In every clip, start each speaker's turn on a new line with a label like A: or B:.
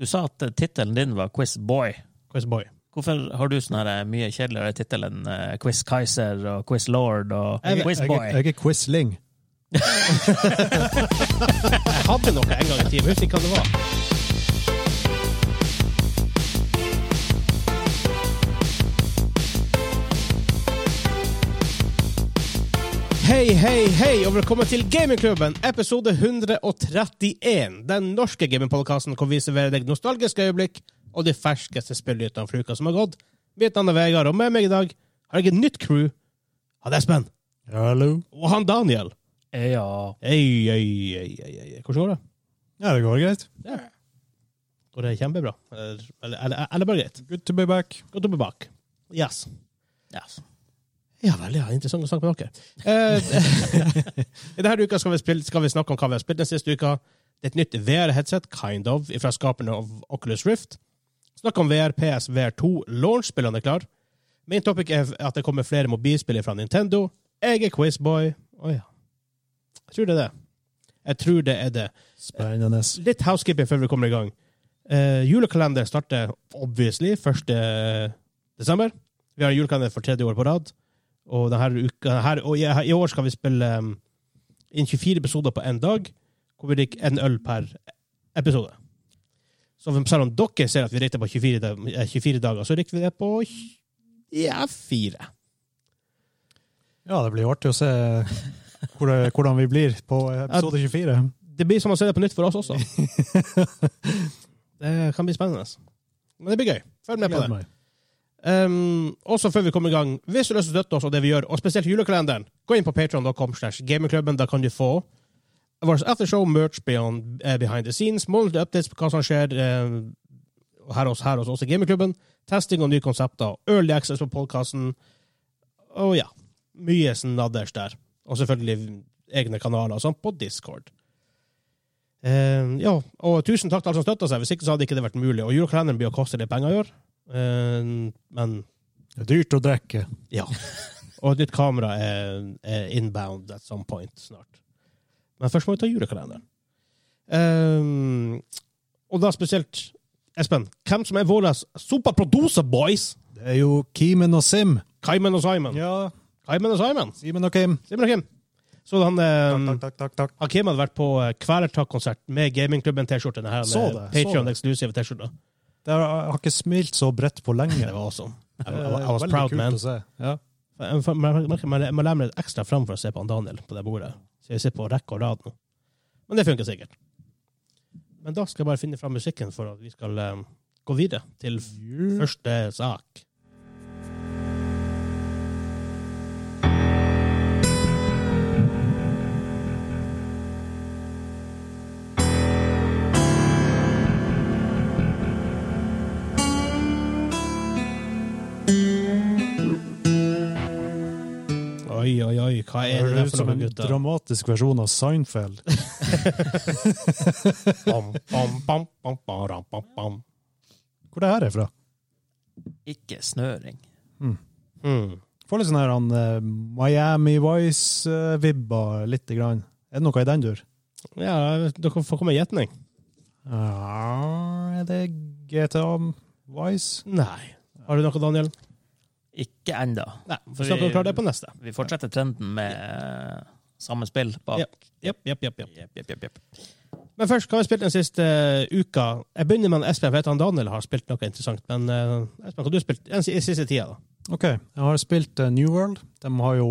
A: Du sa at eh, tittelen din var Quiz Boy.
B: Quizboy.
A: Hvorfor har du sånn her eh, mye kjedeligere tittel enn eh, Quiz Kaiser og Quiz Lord og
B: Jeg-
A: Quiz
B: jeg-
A: Boy?
C: Jeg er quisling.
B: Jeg hadde noe en gang i tiden, men jeg husker ikke hva det var. Hei, hei, hei, og velkommen til Gamingklubben, episode 131. Den norske gamingpodkasten hvor vi serverer deg nostalgiske øyeblikk og de ferskeste spillnyhetene fra uka som har gått. Mitt navn er Vegard, og med meg i dag har jeg et nytt crew. Han Espen.
C: Hallo.
B: Og han Daniel.
A: Eh, Ja.
B: Ei, ei, ei, ei, ei. Hvordan går det?
C: Ja, det går greit.
B: Og det er kjempebra. Eller, eller, eller bare greit.
C: Good to be back.
B: Godt oppe bak. Yes.
A: ja.
B: Ja vel, ja. Interessant å snakke med dere. Eh, I denne uka skal vi, spille, skal vi snakke om hva vi har spilt den siste uka. Det er et nytt VR-headset, kind of, fra skaperne av Oculus Rift. Snakke om VR, PS, VR2, launch-spillene er klar. Min topic er at det kommer flere mobilspill fra Nintendo. E Jeg er quizboy. Å ja. Jeg tror det er det. Jeg tror det er det. Eh,
C: Spennende.
B: Litt housekeeping før vi kommer i gang. Eh, julekalender starter obviously 1. desember. Vi har en julekalender for tredje år på rad. Og, denne uka, her, og i, i år skal vi spille um, inn 24 episoder på én dag, hvor vi drikker én øl per episode. Så selv om dere ser at vi drikker på 24, dag- eh, 24 dager, så drikker vi det på tj- ja, fire.
C: Ja, det blir artig å se hvor, hvordan vi blir på episode 24.
B: Det blir som å se det på nytt for oss også. det kan bli spennende. altså. Men det blir gøy. Følg med på det.
C: Gleder meg.
B: Um, også før vi kommer i gang, hvis du har lyst til å støtte oss og det vi gjør, og spesielt julekalenderen, gå inn på patreon.com slash gamingklubben. Da kan du få vårt aftershow, merch beyond, eh, behind the scenes, månedlige updates på hva som skjer eh, her hos, her hos oss i gamingklubben, testing og nye konsepter, early access på podkasten, og ja, mye snadders der. Og selvfølgelig egne kanaler og sånn på Discord. Eh, ja, og tusen takk til alle som støtter seg. Hvis ikke så hadde ikke det vært mulig. Og julekalenderen blir å koste litt penger i år. Eh, men
C: Det er dyrt å drikke.
B: ja. Og et nytt kamera er, er inbound at some point snart. Men først må vi ta julekalenderen. Ehm, og da spesielt Espen, hvem som er våre superproducer boys?
C: Det er jo Kimen og Sim.
B: Kaimen og Simon.
C: Ja,
B: Kaimen og Simon.
C: Simen og Kim.
B: Simon og Kim. Så han, ehm,
C: Takk, takk, takk. takk.
B: han Kim hadde vært på eh, Kvelertak-konsert med gamingklubben T-skjorte. Den her
C: Så det, så
B: Patreon
C: det.
B: eksklusive T-skjorta.
C: Det har, har ikke smilt så bredt på lenge.
B: Det var awesome. I, I,
C: Det er
B: I was
C: Eh, veldig
B: proud,
C: kult
B: man.
C: å se. Ja.
B: Jeg får- eh, Man man- man- man lemmer litt ekstra fram for å se på han Daniel på det bordet. Så jeg sitter på rekke og rad nå. Men det funker sikkert. Men da skal jeg bare finne fram musikken for at vi skal eh, gå videre til f-
C: Mm.
B: første sak. Oi, oi, oi, hva
C: Det
B: er det der
C: høres ut
B: for
C: som
B: noe,
C: en
B: gutter?
C: dramatisk versjon av Seinfeld.
B: Bam, bam, bam, bam, bam, bam, bam.
C: Hvor det her er fra?
A: Ikke snøring.
B: Mm.
C: Får litt sånn her han, eh, Miami Vice-vibba, lite grann. Er det noe i den dur?
B: Ja, dere får komme med gjetning.
C: Ja, er det GTA Vice?
B: Nei. Har du noe, Daniel?
A: Ikke ennå.
B: Nei.
A: For
B: Så da kan
A: vi-
B: du klare det på neste.
A: Vi fortsetter trenden med eh, samme spill bak.
B: Jepp, jepp, jepp. jepp.
A: Jepp, jepp, jepp, jepp.
B: Men først, hva har vi spilt den siste eh, uka? Jeg begynner med en Espen, for jeg vet han Daniel har spilt noe interessant. Men eh, Espen, hva har du spilt den si- siste tida? da?
C: Ok, jeg har spilt eh, New World. De har jo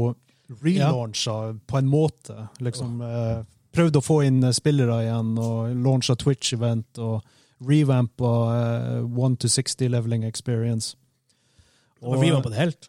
C: relauncha på en måte. Liksom, eh, prøvd å få inn eh, spillere igjen, og launcha Twitch-event, og revampa eh, 1 to 60 leveling experience.
B: Og vi var på det helt.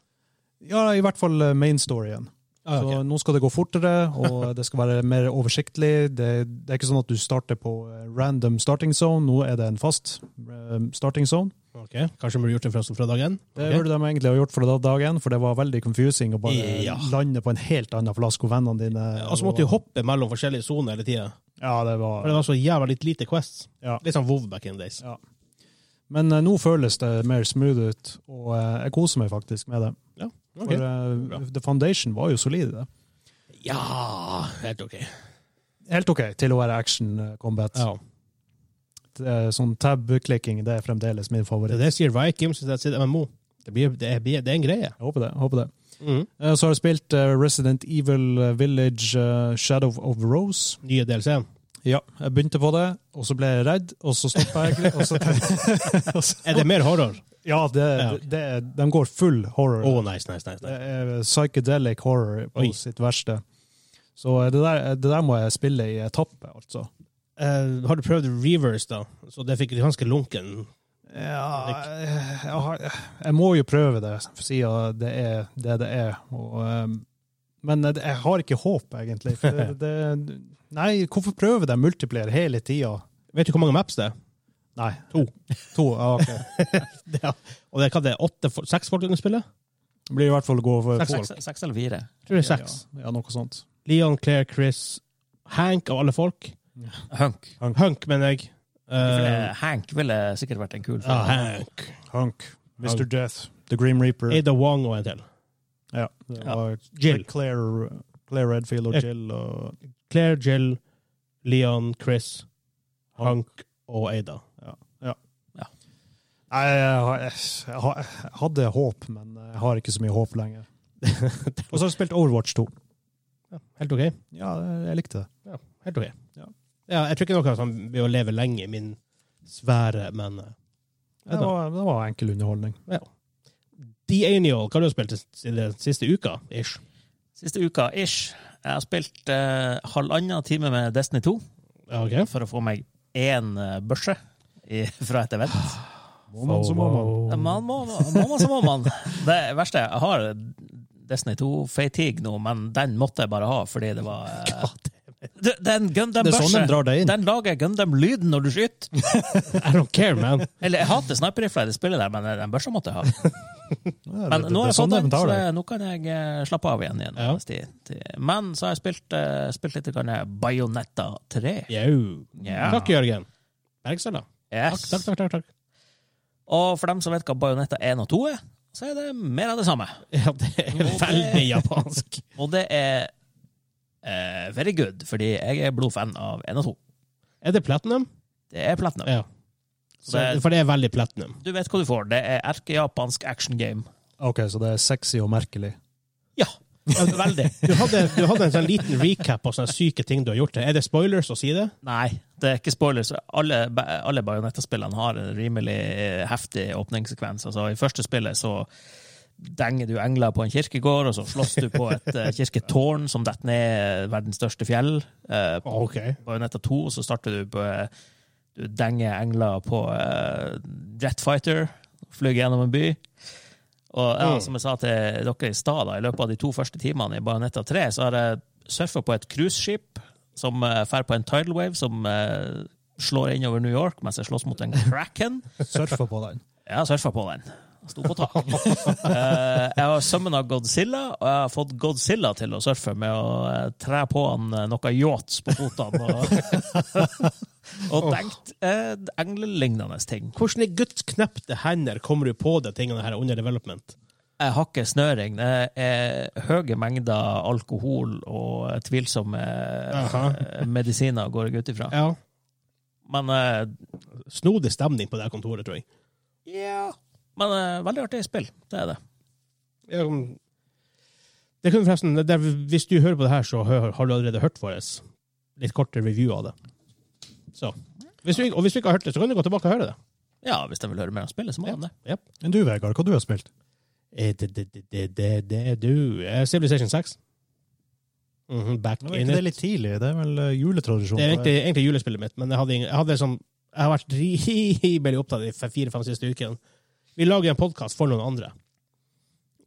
C: Ja, i hvert fall eh, main storyen.
B: Ah,
C: Så
B: ok.
C: nå skal det gå fortere, og det skal være mer oversiktlig. Det, det er ikke sånn at du starter på eh, random starting zone, nå er det en fast eh, starting zone.
B: ok, Kanskje vi burde gjort det fra, fra dag én?
C: Det
B: Ok.
C: burde de egentlig ha gjort fra da- dag én, for det var veldig confusing å bare
B: Ja.
C: lande på en helt annen plass hvor vennene dine
B: Og så måtte vi hoppe mellom forskjellige soner hele tida.
C: Ja, det
B: For det
C: var
B: var så jævla litt lite Quests.
C: ja.
B: Litt sånn WoW back in the days.
C: Ja. Men eh, nå føles det mer smooth ut, og eh, jeg koser meg faktisk med det. For
B: Ok.
C: eh,
B: Bra.
C: The Foundation var jo solid. det.
B: Ja Helt OK.
C: Helt OK til å være action eh, combat.
B: Ja.
C: eh, sånn tab-klikking det er fremdeles min
B: Det
C: favoritt.
B: er det sier Vikings, det sier MMO. Det, blir, det, er, det er en greie.
C: Jeg håper det. jeg håper det.
B: Mm.
C: Eh, Så har jeg spilt eh, Resident Evil Village eh, Shadow of Rose.
B: Nye DLC-en.
C: Ja, jeg begynte på det, og så ble jeg redd, og så stoppa jeg. Og så, og så,
B: Er det mer horror?
C: ja, det,
B: Ja.
C: det, det, de går full horror.
B: Å, nice, nice, nice.
C: Det
B: nice.
C: er psychedelic horror på
B: Oi.
C: sitt verste. Så eh, det der, det der må jeg spille i etappe, altså.
B: Eh, har du prøvd reverse, da? Så det fikk ganske lunken.
C: Ja, eh, jeg, har, jeg må jo prøve det, siden det er det det er. Og, eh, men jeg- jeg har ikke håp, egentlig. For det, det, nei, hvorfor prøve det multiplier hele tida?
B: Vet du hvor mange maps det er?
C: Nei.
B: To.
C: To, ja, ok.
B: Det er og det er hva det er, åtte, fo- seks folk under spillet?
C: Det blir i hvert fall å gå for
B: Seks,
C: folk.
A: Seks, seks eller fire.
B: Jeg tror det er seks.
C: Ja, ja, noe sånt.
B: Leon, Claire, Chris, Hank av alle folk.
A: Hunk.
B: Hunk, mener jeg.
A: Jeg
B: Eh,
A: ville- Hank ville sikkert vært en kul
B: ja,
A: fyr.
B: Hank.
C: Hunk, Mr.
B: Hunk.
C: Death, The Grim Reaper.
B: Ada Wong og en til.
C: Ja, det
A: Ja.
C: var
B: Jill.
C: Claire, Claire Redfield og
B: Eh,
C: Jill og
B: Claire, Jill, Leon, Chris, Hank og Ada.
C: Nei, jeg, har- jeg, har- jeg hadde håp, men jeg har ikke så mye håp lenger. og så har jeg spilt Overwatch 2.
B: Ja, helt OK.
C: Ja, jeg likte det.
B: Helt OK.
C: Ja.
B: Ja, jeg tror ikke noe som blir å leve lenge i min sfære, men eh,
C: Det var, det var enkel underholdning.
B: The Anial, hva har du spilt i den siste uka? Ish.
A: Siste uka, ish, jeg har spilt eh, halvannen time med Destiny 2
B: Ja, ok.
A: for å få meg én eh, børse i, fra et event.
C: Må man, så må man.
A: Ja, Man må, må man, så må man. Det verste jeg har Destiny 2-fatigue nå, men den måtte jeg bare ha fordi det var eh, Du, Den
C: Det er sånn
A: Gundam-børsen
C: de drar deg inn.
A: Den lager Gundam-lyden når du skyter.
B: I don't care, man.
A: Eller jeg hater sniperrifla i det spillet, der, men eh, den børsa måtte jeg ha.
C: Ja,
A: Men nå
C: det- det
A: har jeg
C: er sånn
A: fått
C: de
A: den, så
C: tar
A: det,
C: det.
A: nå kan jeg eh, slappe av igjen. igjen
B: Ja.
A: mens de- de- Men så har jeg spilt, eh, spilt litt grann Bayonetta 3.
B: Jau.
A: Ja.
B: Takk, Jørgen. Bergstøla. Takk,
A: Yes.
B: takk, takk. takk, takk.
A: Og for dem som vet hva Bayonetta 1 og 2 er, så er det mer av det samme.
B: Ja, det er veldig japansk.
A: Og det er eh, very good, fordi jeg er blodfan av 1 og 2.
B: Er det platinum?
A: Det er platinum.
B: Ja.
A: Så det er,
B: for det er veldig platinum.
A: du vet hva du får. Det er erkejapansk action game.
C: Ok, så det er sexy og merkelig.
A: Ja, veldig.
B: Du hadde, du hadde en sånn liten recap av sånne syke ting du har gjort. Er det spoilers å si det?
A: Nei, det er ikke spoilers. Alle, alle Bayonetta-spillene har en rimelig eh, heftig åpningssekvens. Altså, I første spillet så denger du engler på en kirkegård, og så slåss du på et eh, kirketårn som detter ned verdens største fjell. Eh,
B: Ah, Ok.
A: Bayonetta 2, så starter du på eh, Du denger engler på eh, Jet Fighter, flyr gjennom en by. Og ja,
B: Mm.
A: som jeg sa til dere i stad, da, i løpet av de to første timene i Bayonetta 3, så har jeg surfa på et cruiseskip som eh, fer på en tidal wave som eh, slår innover New York mens jeg slåss mot en cracken.
C: Surfa på den.
A: Jeg har surfa på den. Sto på tak. Eh, jeg har summona Godzilla, og jeg har fått Godzilla til å surfe med å eh, tre på han eh, noen yachts på fotene. Og, og tenkt uh, englelignende ting.
B: Hvordan i Guds knepte hender kommer du på de tingene her under development?
A: Jeg har ikke snøring. Det er høye mengder alkohol og eh, tvilsomme eh,
B: Aha.
A: medisiner, går jeg ut ifra.
B: Ja.
A: Men eh,
B: Snodig stemning på det her kontoret, tror jeg.
A: men eh, veldig artig spill, det er det.
B: Ja, um, Det kunne forresten, det der, Hvis du hører på det her, så hø- har du allerede hørt vår litt kortere review av det. Så. Hvis du, ikke- og hvis du ikke har hørt det, så kan du gå tilbake og høre det.
A: Ja, hvis de vil høre mer om spillet, så må de det.
C: Men du, Vegard, hva du har spilt?
B: Eh, Det, det, det, det, det, det du eh, Civilization 6. Mhm, back in
C: Nå er
B: it.
C: ikke det litt tidlig? Det er vel eh, juletradisjon?
B: Det er egentlig, egentlig julespillet mitt, men jeg hadde, ingen- jeg hadde liksom Jeg har vært rimelig opptatt de fire-fem siste ukene. Vi lager en podkast for noen andre,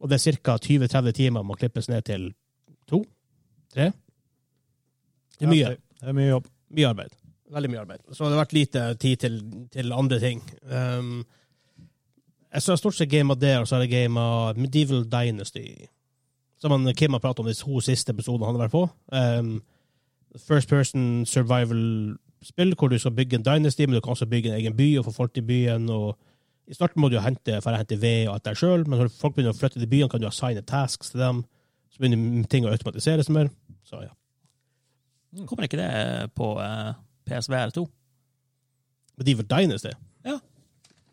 B: og det er ca. 20-30 timer må klippes ned til to, tre. Det er mye.
C: Det er mye jobb.
B: Mye arbeid. Veldig mye arbeid. Så det har vært lite tid til, til andre ting. Um, jeg så har stort sett game av det, og så har jeg game av Medieval Dynasty. Som han, Kim har pratet om de to siste episodene han har vært på. Um, first person survival-spill, hvor du skal bygge en dynasty, men du kan også bygge en egen by og få folk til byen. og I starten må du jo hente, for å hente ved og alt der sjøl, men når folk begynner å flytte til byene, kan du assigne tasks til dem. Så begynner ting å automatiseres mer. Så ja.
A: eh, Kommer ikke det på eh, PSVR 2?
B: Medieval Dynasty?
A: Ja.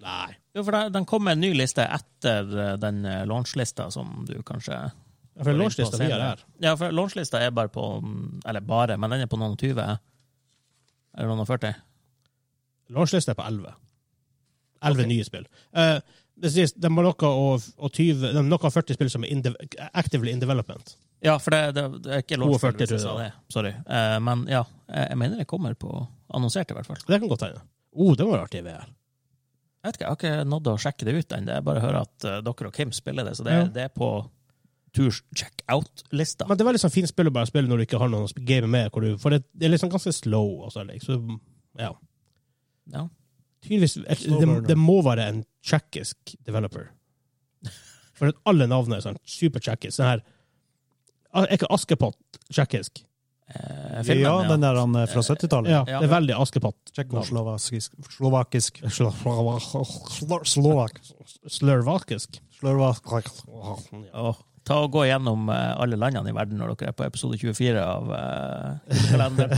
B: Nei.
A: Jo, for der- Den kom med en ny liste etter eh, den eh, launchlista som du kanskje
B: Ja, For launchlista vi har her.
A: Ja, for launchlista er bare på mm, Eller bare, men den er på noen og tyve. Eller noen og førti.
B: Launchlista er på 11. 11
A: Ok.
B: nye spill. Eh, det sies de har noe og, og 20, de har noe og 40 spill som er in de, actively in development.
A: Ja, for det, det, det er ikke launchspill,
B: 42
A: hvis jeg sa
B: tror
A: det. Sorry. Eh, men ja, jeg, jeg mener det kommer på annonsert, i hvert fall.
B: Det kan godt hende. Oh, det var artig i VR.
A: Jeg vet ikke, jeg har ikke nådd å sjekke det ut ennå. Jeg bare hører at eh, dere og Kim spiller det, så det,
B: Ja.
A: det er på Tours check-out-lista.
B: Men det er veldig sånn fint spill å bare spille når du ikke har noen å game med, hvor du, for det, det er liksom ganske slow. Også, liksom. Så, ja.
A: Ja.
B: Tydeligvis, et,
C: Slow
B: det,
C: burner.
B: det må være en tsjekkisk developer. For at alle navnene er sånn supertsjekkisk. Sånn her Er ikke Askepott tsjekkisk?
A: Eh, filmen,
C: Ja, den der han er fra 70-tallet.
B: Ja,
A: Ja.
B: det er veldig Askepott.
C: Tsjekkoslovakisk. Slovakisk. Slor- Slovak.
B: Slørvakisk.
C: Slovak.
A: Og ta og Gå gjennom eh, alle landene i verden når dere er på episode 24 av eh, kalenderen.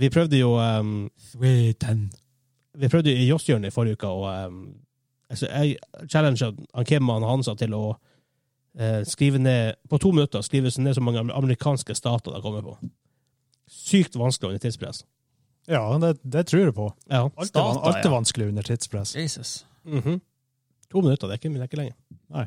B: Vi prøvde jo um,
C: Sweden.
B: Vi prøvde jo i Jåsshjørnet i forrige uke å um, altså, Jeg challenga Kim og Hansa til å eh, skrive ned på to minutter skrive ned så mange amerikanske stater de kommer på. Sykt vanskelig under tidspress.
C: Ja, det, det tror jeg på.
B: Ja.
C: Alt er,
A: Stater,
C: van- alt er
A: ja.
C: vanskelig under tidspress.
A: Jesus.
B: Mhm. To minutter, det er ikke, det er ikke lenge.
C: Nei.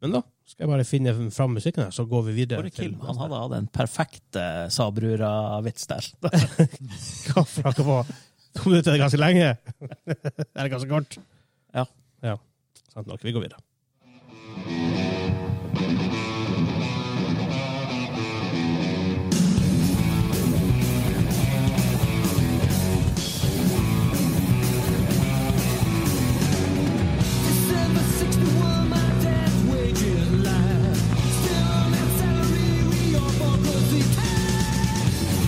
B: Men da skal jeg bare finne fram musikken her, så går vi videre.
A: Bare
B: til
A: Kim, han hadde hatt en perfekt eh, Sabrura-vits der.
B: Hva for noe på? To minutter er ganske lenge. er det ganske kort?
A: Ja.
B: ja. Sant nok. Vi går videre.
D: December 61, my dad's wages lie. Still on that salary, we all fall close to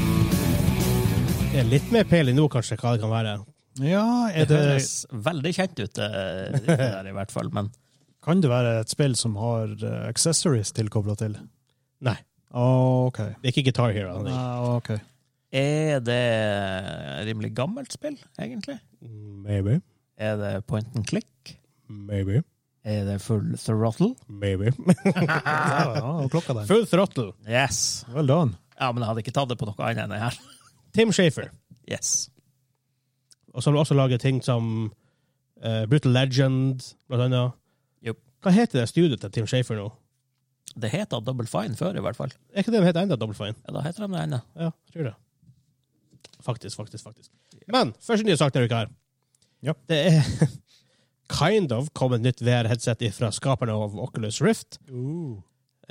B: Det er litt mer peiling nå, kanskje, hva det kan være.
C: Ja, er
A: Det
C: det,
A: høres veldig kjent ut, eh, det der i hvert fall. Men
C: kan det være et spill som har eh, accessories tilkobla til?
B: Nei,
C: Å, OK.
B: det er ikke Guitar Hero. Det er.
C: Ah, ok.
A: er det rimelig gammelt spill, egentlig?
B: Maybe.
A: Er det point and click?
B: Maybe.
A: Er det full throttle?
B: Maybe.
C: Ja, ja, og klokka der.
B: Full throttle.
A: Yes.
C: Well done.
A: Ja, men jeg hadde ikke tatt det på noe annet enn det her.
B: Tim Shafer.
A: Yes.
B: Og så har du også laget ting som eh, Brutal Legend, blant annet.
A: Jupp.
B: Hva heter det studioet til Tim Shafer nå?
A: Det heter Double Fine før, i hvert fall.
B: Er ikke det den heter enda Double Fine?
A: Ja, da heter de det ennå.
B: Ja, jeg tror det. Faktisk, faktisk, faktisk. Men første nye sak denne uka her.
C: Ja.
B: Det er kind of kommet nytt VR-headset fra skaperne av Oculus Rift.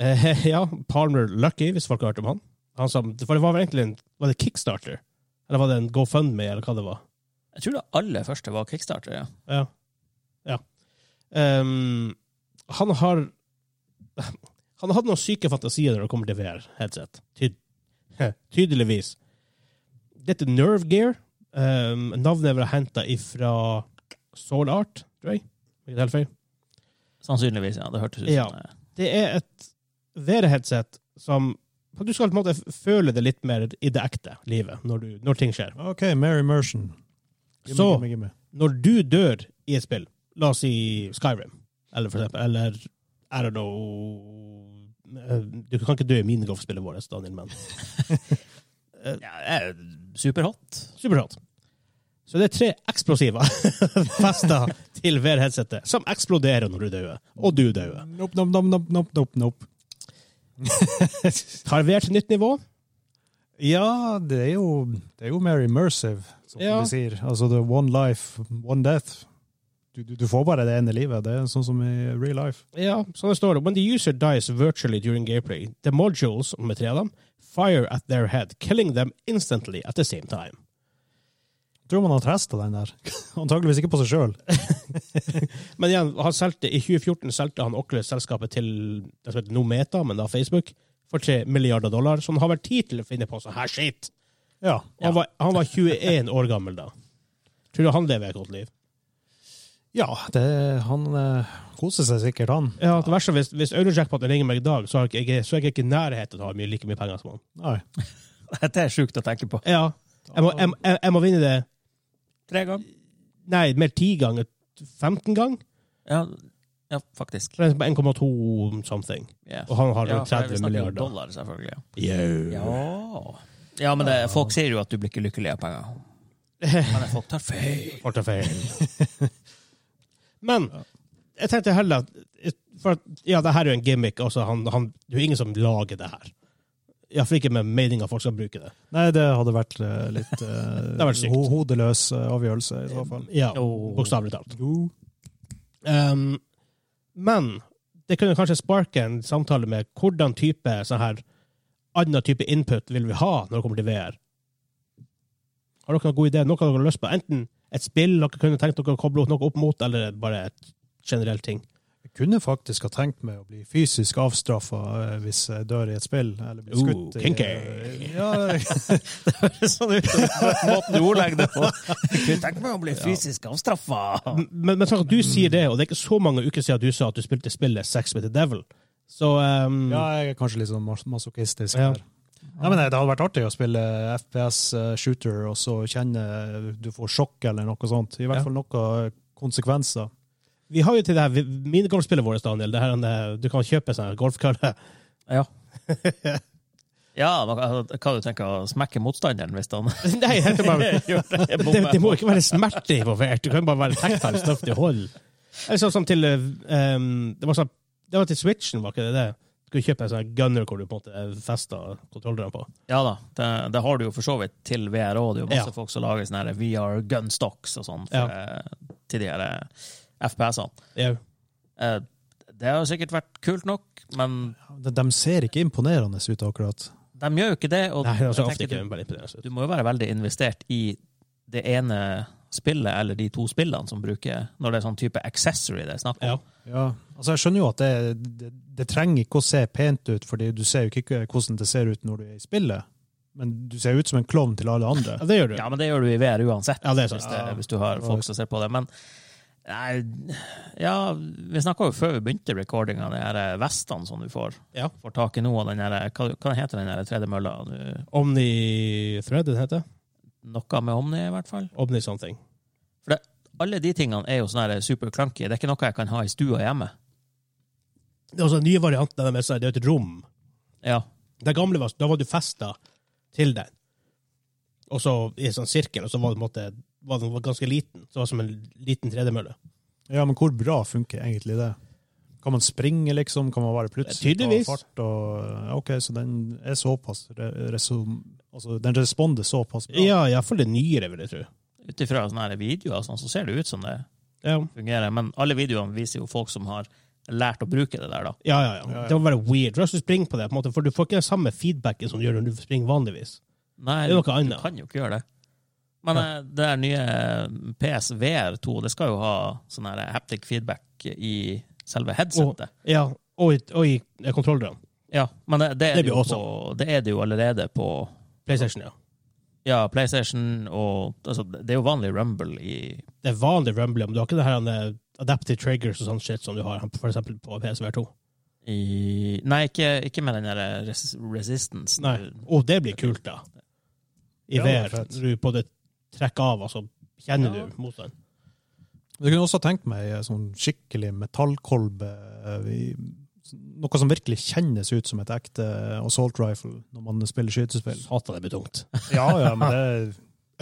B: Eh, ja, Palmer Lucky, hvis folk har hørt om han. han som, for det var vel egentlig en var det Kickstarter? Eller var det en GoFundMe, eller hva det var?
A: Jeg tror det aller første var kickstarter, ja.
B: Ja. ja. Ehm, han har Han har hatt noen syke fantasier når det kommer til VR-headset. Tyd, tydeligvis. Dette Nerve Gear ehm, Navnet er vel henta ifra Soul Art, tror jeg. Om ikke det er helt feil.
A: Sannsynligvis, ja. Det hørtes ut som
B: Ja.
A: eh,
B: Det er et VR-headset som Du skal på en måte føle det litt mer i det ekte livet når, du, når ting skjer.
C: OK, Mary Merson. Gimme,
B: Så-
C: gimme, gimme.
B: når du dør i et spill, la oss si Skyrim, eller for eksempel, eller I don't know eh, Du kan ikke dø i minigolfspillet vårt, Daniel, men
A: ja, det er Superhot.
B: superhot. Så det er tre eksplosiver festa til hver headsetet, som eksploderer når du dør. Og du dør.
C: Nope, nope, nope, nope, nope, nope, nope.
B: Tar VR til nytt nivå?
C: Ja, det er jo, det er jo mer immersive, som
B: Ja.
C: de sier. Altså, det er one life, one death. Du, du, du får bare det ene livet. Det er sånn som i real life.
B: Ja, sånn det står det. When the user dies virtually during gameplay, the modules, med tre av dem, fire at their head, killing them instantly at the same time.
C: Tror man har testa den der. Antakeligvis ikke på seg sjøl.
B: Men igjen, han solgte, i 2014 solgte han Oculus-selskapet til det som heter Nometa, men da Facebook, for 3 milliarder dollar. Så han har vært tid til å finne på sånn her shit.
C: Ja.
B: Og Han, var, han var 21 år gammel da. Tror du han lever et godt liv?
C: ja det, han eh, koser seg sikkert, han.
B: Ja, det verste, hvis, hvis Eurojackpoten ringer meg i dag, så er jeg, ikke- så er jeg ikke i nærheten av å ha mye, like mye penger som han.
C: Nei.
A: Dette er sjukt å tenke på.
B: Ja, Jeg må, jeg, jeg, jeg må vinne det
A: Tre ganger.
B: Nei, mer 10 ganger. 15 ganger.
A: Ja, ja faktisk.
B: For det er på 1,2 something.
A: Ja.
B: Og han har
A: Ja,
B: rundt
A: for vi snakker
B: 30
A: jo
B: milliarder.
A: dollar, selvfølgelig.
B: Yeah.
A: Ja, ja men det, folk sier jo at du blir ikke lykkelig av penger. Men folk tar feil.
B: Portefeil. Men jeg tenkte heller at for at, Ja, det her er jo en gimmick. Altså, han, han, det er jo ingen som lager det her. Iallfall ikke med meninga folk skal bruke det.
C: Nei, det hadde vært eh, litt eh,
B: hadde vært sykt.
C: ho hodeløs eh, avgjørelse, i så fall.
B: Ja,
A: Jo.
B: Bokstavelig talt. Um, men det kunne kanskje sparke en samtale med hvordan type sånn her annen type input vil vi ha når det kommer til VR. Har dere noen god idé? Noe dere har lyst på? Enten et spill dere kunne tenkt dere å koble noe opp mot, eller bare et generelt ting.
C: Jeg kunne faktisk ha tenkt meg å bli fysisk avstraffa eh, hvis jeg dør i et spill. Eller blir
B: Ooh,
C: skutt i
B: kinky.
C: eh, Ja,
A: sånn ut måten du ordlegger det på. Kunne tenke meg å bli fysisk avstraffa.
B: M- Men, men sånn at du sier det, og det er ikke så mange uker siden du sa at du spilte spillet Sex with the Devil. Så um,
C: ja, jeg er kanskje litt sånn mas- masochistisk
B: Ja.
C: her. Nei, men Det hadde vært artig å spille FPS-shooter, eh, og så kjenne eh, du får sjokk eller noe sånt. I
B: Ja.
C: hvert fall noen konsekvenser.
B: vi har jo til det her vi- minigolfspillet vårt, Daniel. Det her, eh, du kan kjøpe sånn her golfkølle.
A: Ja. Ja, man, kan- hva du tenker å smekke motstanderen hvis han
B: Nei, jeg tenkte bare
A: gjør det?
B: det, det må ikke være smerte involvert. Det kan bare være tactile stuff til hold. Eller sånn som til eh, um, det, var sånn, det var til Switchen, var ikke det det? Du kunne kjøpe en sånn gunner hvor du på en måte festa kontrolleren på.
A: Ja da, det, det har du jo for så vidt til VR òg. Det er jo masse
B: Ja.
A: folk som lager sånne her VR gunstocks og sånn for, eh, til de her eh, FPS-ene.
B: Ja.
A: Eh, Det har jo sikkert vært kult nok, men
C: De, de ser ikke imponerende ut, akkurat.
A: de gjør jo ikke det. Og
B: Nei, det er
A: jeg
B: så ofte
A: tenker
B: ikke
A: du,
B: bare imponerende.
A: du må jo være veldig investert i det ene spillet eller de to spillene som bruker Når det er sånn type accessory det er snakk om.
B: Ja.
C: Ja, altså Jeg skjønner jo at det, det, det trenger ikke å se pent ut, fordi du ser jo ikke hvordan det ser ut når du er i spillet. Men du ser ut som en klovn til alle andre.
B: Ja, det gjør du.
A: Ja, men det gjør du i VR uansett,
B: Ja, det er sant.
A: hvis, det,
C: Ja.
A: hvis du har folk som ser på det. Men nei, ja, vi snakka jo før vi begynte recordinga, de her eh, vestene som du får,
B: Ja.
A: får tak i nå, og den her, eh, hva, hva heter den her tredje mølla? Du-
B: Omni-thread, det heter det?
A: Noe med Omni, i hvert fall.
B: Omni-something.
A: Alle de tingene er jo sånn her super clunky. Det er ikke noe jeg kan ha i stua hjemme.
B: Det er også den Altså, nye varianten av den med seg, det er et rom.
A: Ja.
B: Det gamle var, da var du festa til den. Og så i en sånn sirkel, og så var, det, på en måte, var den var ganske liten. Så det var som en liten tredemølle.
C: Ja, men hvor bra funker egentlig det? Kan man springe, liksom? Kan man være plutselig
B: Tydeligvis.
C: ta fart? Og, ja, ok, så den er såpass re- resom... Altså, den responder såpass bra.
B: Ja, iallfall det nyere, vil jeg tro.
A: Ut ifra sånne her videoer og sånn, så ser det ut som det
B: Ja,
A: fungerer. Men alle videoene viser jo folk som har lært å bruke det der, da.
B: ja, ja. ja. Det var bare weird. Rush, du springer på det, på en måte, for du får ikke den samme feedbacken som du gjør når du springer vanligvis.
A: Nei,
B: Det er noe
A: du- du
B: annet.
A: kan jo ikke gjøre det. Men eh, det der nye eh, PSVR 2, det skal jo ha sånn her haptic feedback i selve headsetet.
B: Ja, og, i- og i eh, kontrollerne.
A: Ja, men det, det, er
B: Det
A: det,
B: blir
A: jo på, det er det jo allerede på
B: PlayStation, ja.
A: ja, PlayStation og altså, Det er jo vanlig Rumble i
B: Det er vanlig Rumble, men du har ikke det her eh, adaptive triggers og sånn shit som du har for eksempel på PSVR2.
A: i, Nei, ikke, ikke med den der eh, res, resistance.
B: Nei. Og det blir kult, da. I
C: Ja, det er
B: VR.
C: fett.
B: Du både trekker av, og så kjenner
A: Ja.
B: du motstand.
C: Du kunne også tenkt meg eh, sånn skikkelig metallkolbe. eh, i- Noe som virkelig kjennes ut som et ekte assault rifle når man spiller skytespill.
B: Satan, det blir tungt.
C: Ja, ja, men det er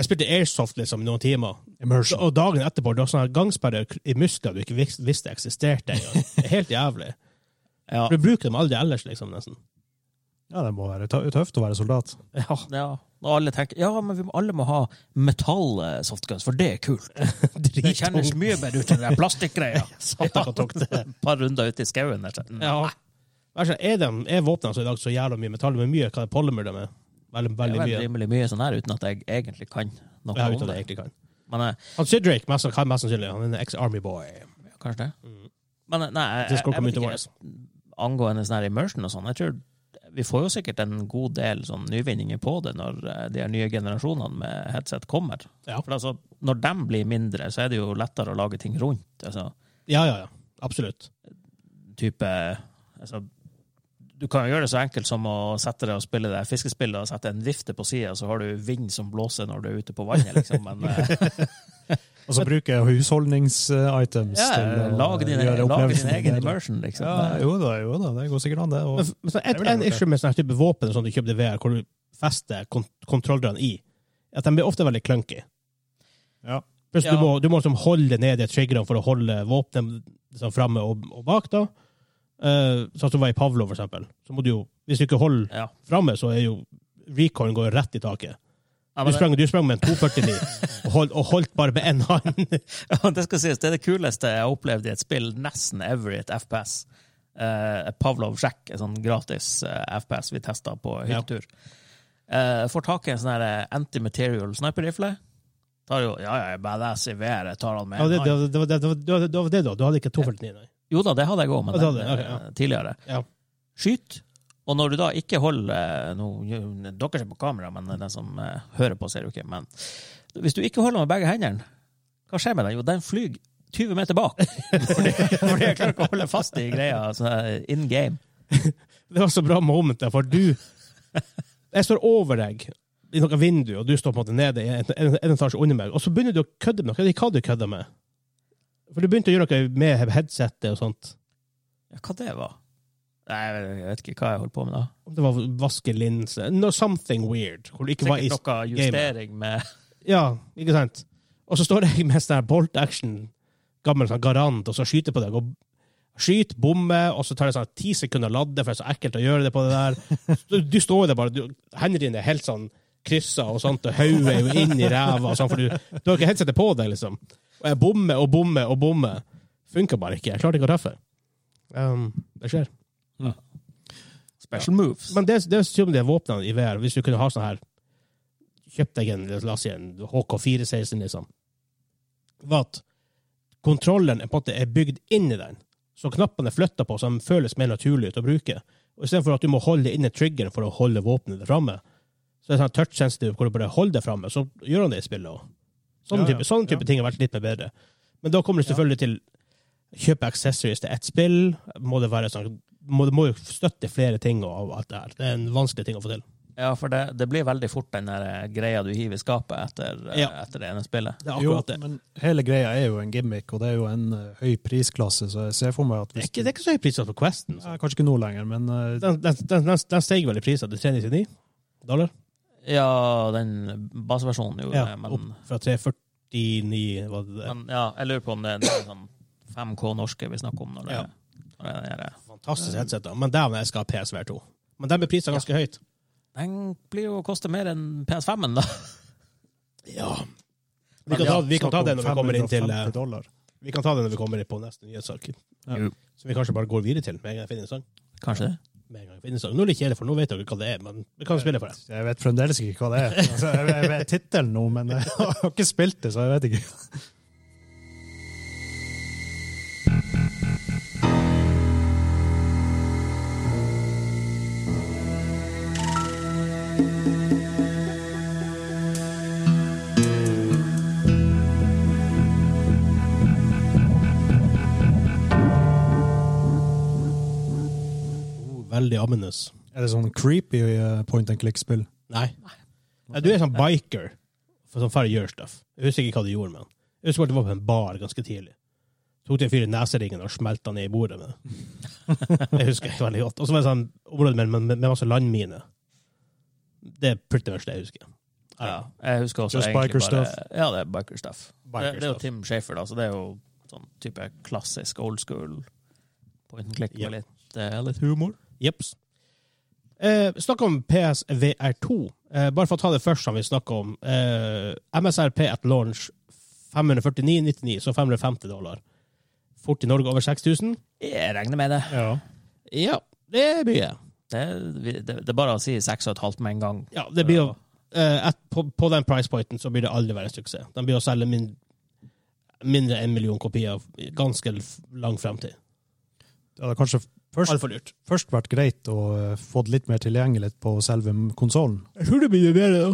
B: Jeg spilte airsoft liksom i noen timer,
C: immersion.
B: og dagen etterpå du har sånne gangsperrer i muskler du ikke vis- visste eksisterte engang. Det er Helt jævlig.
A: Ja.
B: Du bruker dem aldri ellers, liksom, nesten.
C: Ja, det må være tø- tøft å være soldat.
B: Ja,
A: ja. Og alle tenker ja, men vi må, alle må ha metall-softguns, for det er kult. Det kjennes mye bedre ut enn den plastikkgreia.
B: Satan, hvor tungt det er.
A: Et par runder ute i skauen der. så-
B: Ja. Vær så- Er, de- er våpnene så i dag så jævla mye metall? Hvor mye hva er polymer de er? Veldig,
A: Det
B: veldig
A: er
B: mye.
A: rimelig mye sånn her uten at jeg egentlig kan noe
B: Ja,
A: om
B: uten at jeg
A: det.
B: egentlig kan.
A: Men eh,
B: Han Sidrick mest, kan mest sannsynlig. Han er en ex-army boy.
A: ja, kanskje det. Men eh, nei, jeg,
B: Det skal
A: jeg,
B: komme
A: vet
B: ut i
A: ikke
B: våres.
A: angående sånn her immersion og sånn. Jeg tror vi får jo sikkert en god del sånn nyvinninger på det når eh, de her nye generasjonene med headset kommer.
B: Ja.
A: For altså, når de blir mindre, så er det jo lettere å lage ting rundt. Altså
B: Ja, ja, ja. Absolutt.
A: type altså, du kan jo gjøre det så enkelt som å sette deg og spille det fiskespillet og sette en vifte på sida, så har du vind som blåser når du er ute på vannet, liksom. Men eh,
C: Og så bruker jeg husholdningsitems
A: ja,
C: til å
A: lag din,
C: gjøre
A: lag
C: opplevelsen
A: din egen
C: bedre.
A: immersion, liksom.
C: Ja, jo da, jo da, det går sikkert an, det. Og,
B: Men, f- men sånn, et,
C: Det vil jeg
B: en
C: gjort,
B: issue med sånne type våpen som du kjøpte i VR, hvor du fester kont kontrollerne i, at de blir ofte veldig clunky.
C: Ja.
B: Pluss
A: Ja.
B: du må, du må liksom holde nede triggerne for å holde våpenet liksom, framme og, og bak. da. Eh, sånn som du var i Pavlo, for eksempel. Så må du jo, hvis du ikke holder
A: Ja.
B: framme, så er jo recoilen går rett i taket.
A: Ja,
B: Du
A: men det-
B: sprang, du sprang med en 249 og, hold, og holdt bare med én hånd.
A: Ja, det skal sies, det er det kuleste jeg har opplevd i et spill nesten ever i et FPS. Eh, Pavlov Sjekk, en sånn gratis eh, FPS vi testa på hyttetur. Eh, får tak i en sånn her, eh, anti-material sniper-rifle. Tar jo, ja, ja, jeg er badass i VR, jeg tar han med.
B: Ja,
A: en
B: det, det,
A: hand.
B: det, var- det, var- det, var- det var det, da. Du hadde ikke 249, nei.
A: Jo da, det hadde jeg òg, men
B: Ja, det hadde
A: den,
B: jeg, ok,
A: eh, tidligere.
B: Ja.
A: Skyt. Og når du da ikke holder eh, nå, Dere ser på kamera, men den som eh, hører på, ser jo ikke. Men hvis du ikke holder med begge hendene, hva skjer med den? Jo, den flyr 20 meter bak. fordi, fordi jeg klarer ikke å holde fast i greia altså, in game.
B: Det var så bra moment der, for du Jeg står over deg i noe vindu, og du står på en måte nede i en, en, en etasje under meg, og så begynner du å kødde med noe. Jeg vet ikke hva du kødda med. For du begynte å gjøre noe med headsetet og sånt.
A: Ja, hva det var? Nei, jeg vet- jeg vet ikke hva jeg holdt på med da.
B: Om Det var vaske linser no, Something weird. Hvor du ikke var i
A: Sikkert noe justering med
B: Ja, ikke sant? Og så står jeg med sånn her bolt action, gammel sånn garant, og så skyter på deg. og Skyt, bomme, og så tar det sånn ti sekunder å lade, for det er så ekkelt å gjøre det på det der. Du, du står der bare, du, hendene dine er helt sånn kryssa og sånt, og hodet er jo inn i ræva, og sånn, for du, du har ikke headsetet på deg, liksom. Og jeg bommer og bommer og bommer. Funker bare ikke. Jeg klarte ikke å treffe. Um, det skjer.
A: special moves.
B: Men det, det er som det er våpnene i VR, hvis du kunne ha sånn her Kjøpt deg en, la oss si, en HK416, liksom. Var at kontrollen er på en måte er bygd inn i den, så knappene er flytta på, så de føles mer naturlig ut å bruke. Og Istedenfor at du må holde inne triggeren for å holde våpenet framme, så er det sånn touch sensitive hvor du bare holder det framme, så gjør han det i spillet òg. Sånne,
C: Ja, ja.
B: type, sånne type
C: Ja.
B: ting har vært litt mer bedre. Men da kommer du selvfølgelig til kjøpe accessories til ett spill. Må det være sånn må, det må jo støtte flere ting og alt det her. Det er en vanskelig ting å få til.
A: Ja, for det, det blir veldig fort den der eh, greia du hiver i skapet etter, eh,
B: Ja.
A: etter det ene spillet.
B: Det er
C: jo,
B: akkurat det.
C: men hele greia er jo en gimmick, og det er jo en eh, høy prisklasse, så jeg ser for meg at
B: Det er
C: hvis
B: ikke, det er ikke så høy pris på Questen. altså.
C: Nei, Kanskje ikke nå lenger, men eh,
B: Den, den, den, den, den steg vel i pris til 399 dollar?
A: Ja, den baseversjonen gjorde det, men,
B: Opp fra 349 var det det.
A: men ja, jeg lurer på om det er noe sånn 5K norske vi snakker om når det,
B: Ja.
A: når det er det.
B: Fantastisk headset, da. Men dæven, jeg skal ha PSVR2. Men den blir prisa ganske høyt.
A: Den blir jo å koste mer enn PS5-en, da.
B: Ja. Vi kan,
A: Ja,
B: ta, vi kan ta det når vi kommer inn til eh,
C: 550 dollar.
B: Vi kan ta det når vi kommer inn på neste nyhetssak.
C: Ja.
A: Jo.
B: Så vi kanskje bare går videre til med en gang jeg finner en sang.
A: Kanskje det.
B: Med en gang jeg finner en sang. Nå er det kjedelig, for nå vet dere hva det er, men vi kan spille for det.
C: Jeg vet fremdeles ikke hva det er. Altså, jeg, jeg vet tittelen nå, men jeg har ikke spilt det, så jeg vet ikke.
B: Oh, veldig ominous.
C: Er det sånn creepy eh, point and click-spill?
B: Nei. Nei. Du er sånn biker for sånn færre gjør stuff. Jeg husker ikke hva du gjorde, men jeg husker bare at du var på en bar ganske tidlig. Tok til en fyr i neseringen og smelta ned i bordet med det. Jeg husker det veldig godt. Og så var det sånn område med, med, med masse landminer. Det er pretty much det jeg husker.
A: Ja, jeg husker også
C: Just
A: egentlig
C: biker
A: bare
C: stuff.
A: Ja, det er biker stuff.
B: Biker
A: det, det er
B: stuff.
A: jo Tim Shafer, da, så det er jo sånn type klassisk old school point and click
B: Ja.
A: med litt, eh, litt humor.
B: Jeps. Eh, snakk om PSVR2. Eh, bare for å ta det først, som vi snakker om. Eh, MSRP at launch 549,99, så 550 dollar. Fort i Norge over 6000.
A: Jeg regner med det.
C: Ja.
B: Ja, det er mye.
A: Det, vi- det, det er bare å si seks og et halvt med en gang.
B: Ja, det blir jo eh, at på, på den price pointen så blir det aldri være en suksess. De blir å selge min, mindre enn en million kopier i ganske f- lang fremtid.
C: Det hadde kanskje først,
B: Altfor lurt.
C: først vært greit å eh, få det litt mer tilgjengelig på selve konsollen.
B: Jeg tror det blir mer, da.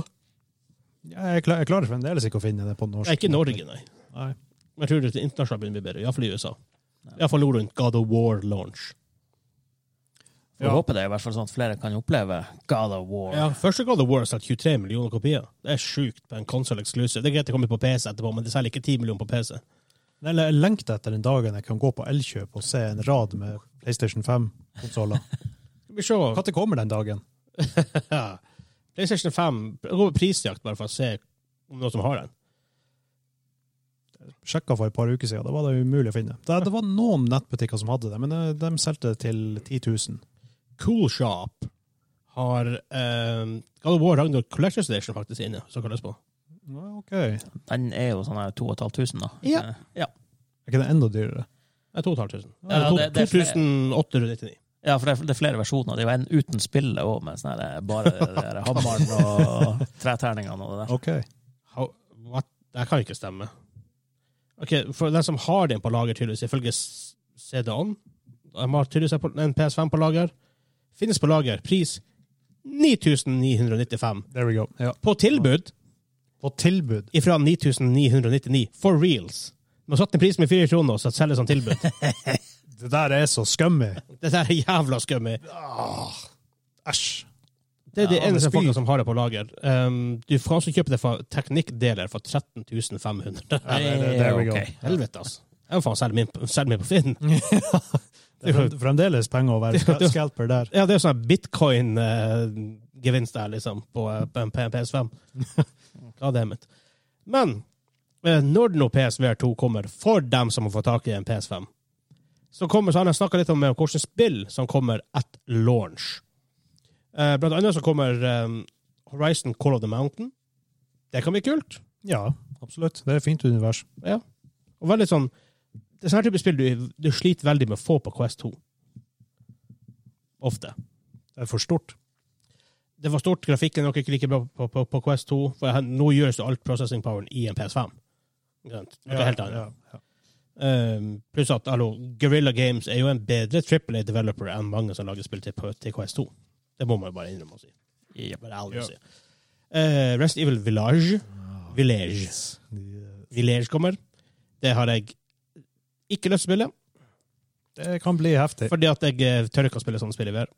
C: Jeg, kla- jeg klarer fremdeles ikke å finne det på norsk.
B: Nei, ikke i Norge, nei.
C: Nei.
B: Men jeg tror det internasjonalt blir det bedre, iallfall i USA. Iallfall rundt God of War launch.
A: Jeg håper det er i hvert fall sånn at flere kan oppleve God of War.
B: Ja, første God of War har solgt 23 millioner kopier. Det er sjukt på en console exclusive. Det er greit det kommer på PC etterpå, men det selger ikke 10 millioner på PC.
C: Eller jeg lengter etter den dagen jeg kan gå på Elkjøp og se en rad med PlayStation 5-konsoller.
B: Skal vi se.
C: Når kommer den dagen?
B: Ja. PlayStation 5 jeg går på prisjakt bare for å se om noen som har den.
C: Sjekka for et par uker siden, da var det umulig å finne. Det, det var noen nettbutikker som hadde det, men eh, de solgte det til 10 000.
B: Coolshop har eh, God of War Ragnarok Collection Station faktisk inne, som kalles på.
C: Ja, OK. Er
A: Den er jo sånn her 2500, da.
C: Ja.
A: Eh, ja.
C: ikke det enda dyrere?
B: Det er 2500.
A: Ja,
B: Eller
A: det- det er
B: 2899.
A: Ja, for det er, det er flere versjoner. Det er jo en uten spillet òg, med sånn her, bare det der hammeren og treterningene og det der.
C: OK.
B: How, what? Det kan ikke stemme. Ok, for den som har den på lager, tydeligvis, ifølge s- CD-on De har tydeligvis en på- en PS5 på lager. Finnes på lager. Pris 9995.
C: There we go. Ja.
B: På tilbud
C: På tilbud.
B: ifra 9999. For reals. De har satt ned prisen med fire kroner, så selger det som tilbud.
C: Det der er så skummy.
B: det der er jævla skummy.
C: Æsj.
B: Det er de
C: Ja,
B: eneste
C: spy.
B: folka som har det på lager. Um, du får også kjøpe det for teknikkdeler for 13 500.
C: Ja, det- det- there we go.
A: Ok.
B: Helvete, altså. Jeg må faen selge min, på- selge min på Finn.
C: Det er frem- fremdeles penger å være skal- scalper der.
B: Ja, det er sånn bitcoin-gevinst der, liksom, på, eh, på en P- PS5. God damn it. Men eh, når nå PSVR2 kommer, for dem som må få tak i en PS5, så kommer så har jeg snakka litt om eh, hvilke spill som kommer at launch. Eh, Blant annet så kommer eh, Horizon Call of the Mountain. Det kan bli kult.
C: Ja, absolutt. Det er et fint univers.
B: Og veldig sånn Det er sånn her type spill du, du sliter veldig med å få på Quest 2. Ofte.
C: Det er for stort.
B: det var stort, grafikken er nok ikke like bra på, på, på Quest 2, for her, nå gjøres jo alt processing poweren i en PS5. Grønt. Noe helt annet.
C: Ja, ja.
B: Um, pluss at hallo, Guerrilla Games er jo en bedre AAA developer enn mange som lager spill til, på- til Quest 2. Det må man jo bare innrømme å si.
A: Yep.
B: Bare ærlig
C: Ja. Ah.
B: å si. Eh, Rest Evil Village Village.
C: eh,
B: Village kommer. Det har jeg ikke lyst til å spille,
C: Det kan bli heftig.
B: fordi at jeg eh, tør ikke å spille sånne spill i VR.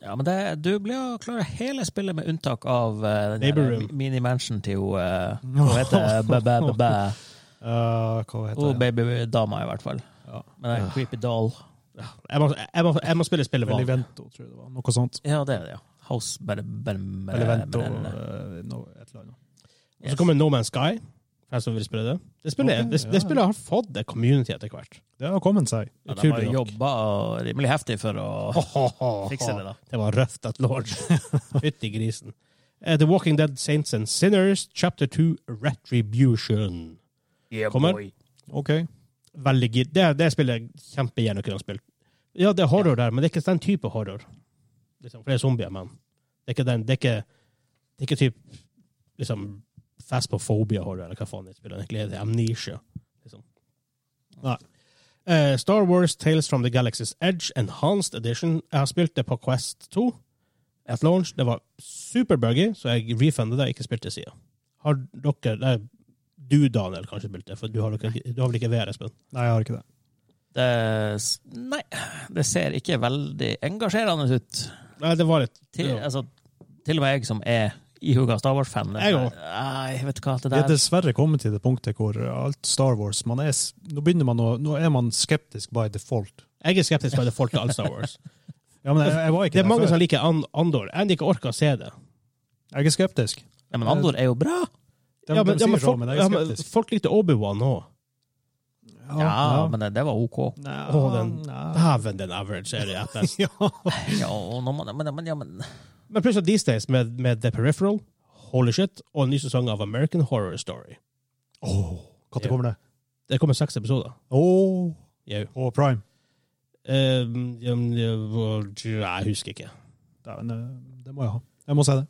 A: Ja, men det, du blir å klare hele spillet med unntak av uh,
B: Neighbor Room.
A: mini-mansion til jo eh, Hva heter det? Bæ, bæ, bæ, bæ.
C: Ja, Eh, hva heter
A: Oh,
C: det?
A: babydama, i hvert fall.
C: Ja.
A: Men det er en creepy doll.
B: Jeg må, jeg må, jeg må spille spillet vanlig.
C: Belivento, tror jeg det var. Noe sånt.
A: Ja, det er det, ja. House bare, bare, bare,
C: Belivento,
A: men-
C: eh, noe- et eller annet.
B: Og så kommer No Man's Sky, for jeg som vil spille det. Det spillet,
C: Ok,
B: det,
C: ja.
B: det spillet har fått et community etter hvert.
C: Det har kommet seg.
A: ja, De har
B: Utrolig nok.
A: jobba rimelig heftig for å fikse det, da.
B: Det var røft at lord. Fytti grisen. Eh, The Walking Dead Saints and Sinners, chapter 2, Retribution. Kommer. boy.
C: OK.
B: Veldig gitt. Det, det spillet jeg kjempegjerne kunne ha spilt. Ja, det er horror der, men det er ikke den type horror. Liksom, for det er zombier, men det er ikke den, det er ikke, det er ikke typ liksom Faspophobia-horror, eller hva faen det spillet egentlig heter. Amnesia. Liksom. Nei. Eh, Star Wars Tales from the Galaxy's Edge Enhanced Edition. Jeg har spilt det på Quest 2. At launch. Det var superbuggy, så jeg refundet det, ikke spilte sida. Har dere nei, Du, Daniel, kanskje spilte det, for du har, dere, ikke- du har vel ikke VR, Espen?
C: Nei, jeg har ikke det.
A: Det, s- nei, det ser ikke veldig engasjerende ut.
B: Nei, det var litt
A: Til,
B: ja.
A: altså, til og med jeg som er ihuga Star Wars-fan. det-
B: Jeg også.
A: Nei, vet du hva, det
C: Vi er
A: der
C: dessverre kommet til det punktet hvor alt Star Wars man er, s- nå, begynner man å, nå er man skeptisk by default.
B: Jeg er skeptisk til folk til all Star Wars.
C: Ja, men jeg, jeg var ikke
B: Det er
C: der
B: mange
C: før.
B: som liker An Andor. Jeg har ikke orka å se det.
C: Jeg er skeptisk.
A: Nei, men Andor er jo bra!
C: De,
B: Ja, men,
C: de
B: ja,
C: sier
B: men,
C: så,
B: folk,
C: men jeg
B: ja,
C: er
B: men
C: skeptisk.
B: folk likte Obi-Wan òg.
A: Ja, men det, det var OK.
C: Nei,
B: Å, den-
C: nei.
B: Dæven, den average er det at best.
A: Ja, og når man, men, men, ja, men
B: Men plutselig these days med, med The Peripheral, Holy Shit og en ny sesong av American Horror Story.
C: Åh, Når kommer det?
B: Det kommer seks episoder.
C: Åh,
B: Jau.
C: på Prime.
B: Eh, ja, men, ja, hvor- jeg husker ikke.
C: Det, er en, eh, det må jeg ha. Jeg må si det.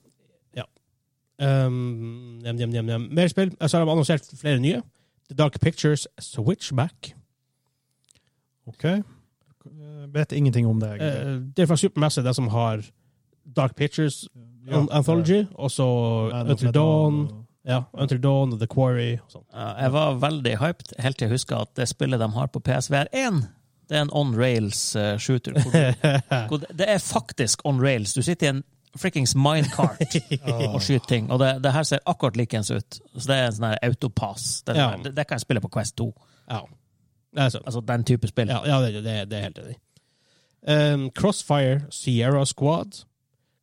B: Um, jam, jam, jam, jam. Mer spill. Så har de annonsert flere nye. The Dark Pictures Switchback.
C: Ok. Jeg vet ingenting om det. egentlig.
B: Eh, det er fra Supermassive, det som har Dark Pictures
C: Ja,
B: An- Anthology, og så
C: Man of
B: Until
C: Medan
B: Dawn.
C: og-
B: Ja, Until Dawn og The Quarry. Og sånn. sånt.
A: ja, jeg var veldig hyped helt til jeg huska at det spillet de har på PSVR1, Det er en on rails eh, shooter. Hvor du, hvor det- det er faktisk on rails. Du sitter i en frikkings minecart og skyter ting. Og det, det her ser akkurat likens ut. Så det er en sånn her autopass. Det, er sånn
B: Ja.
A: her, det, det kan jeg spille på Quest 2.
B: Ja. Det er sant.
A: Altså den type spill.
B: Ja, ja det, det, det er helt enig. Um, Crossfire Sierra Squad.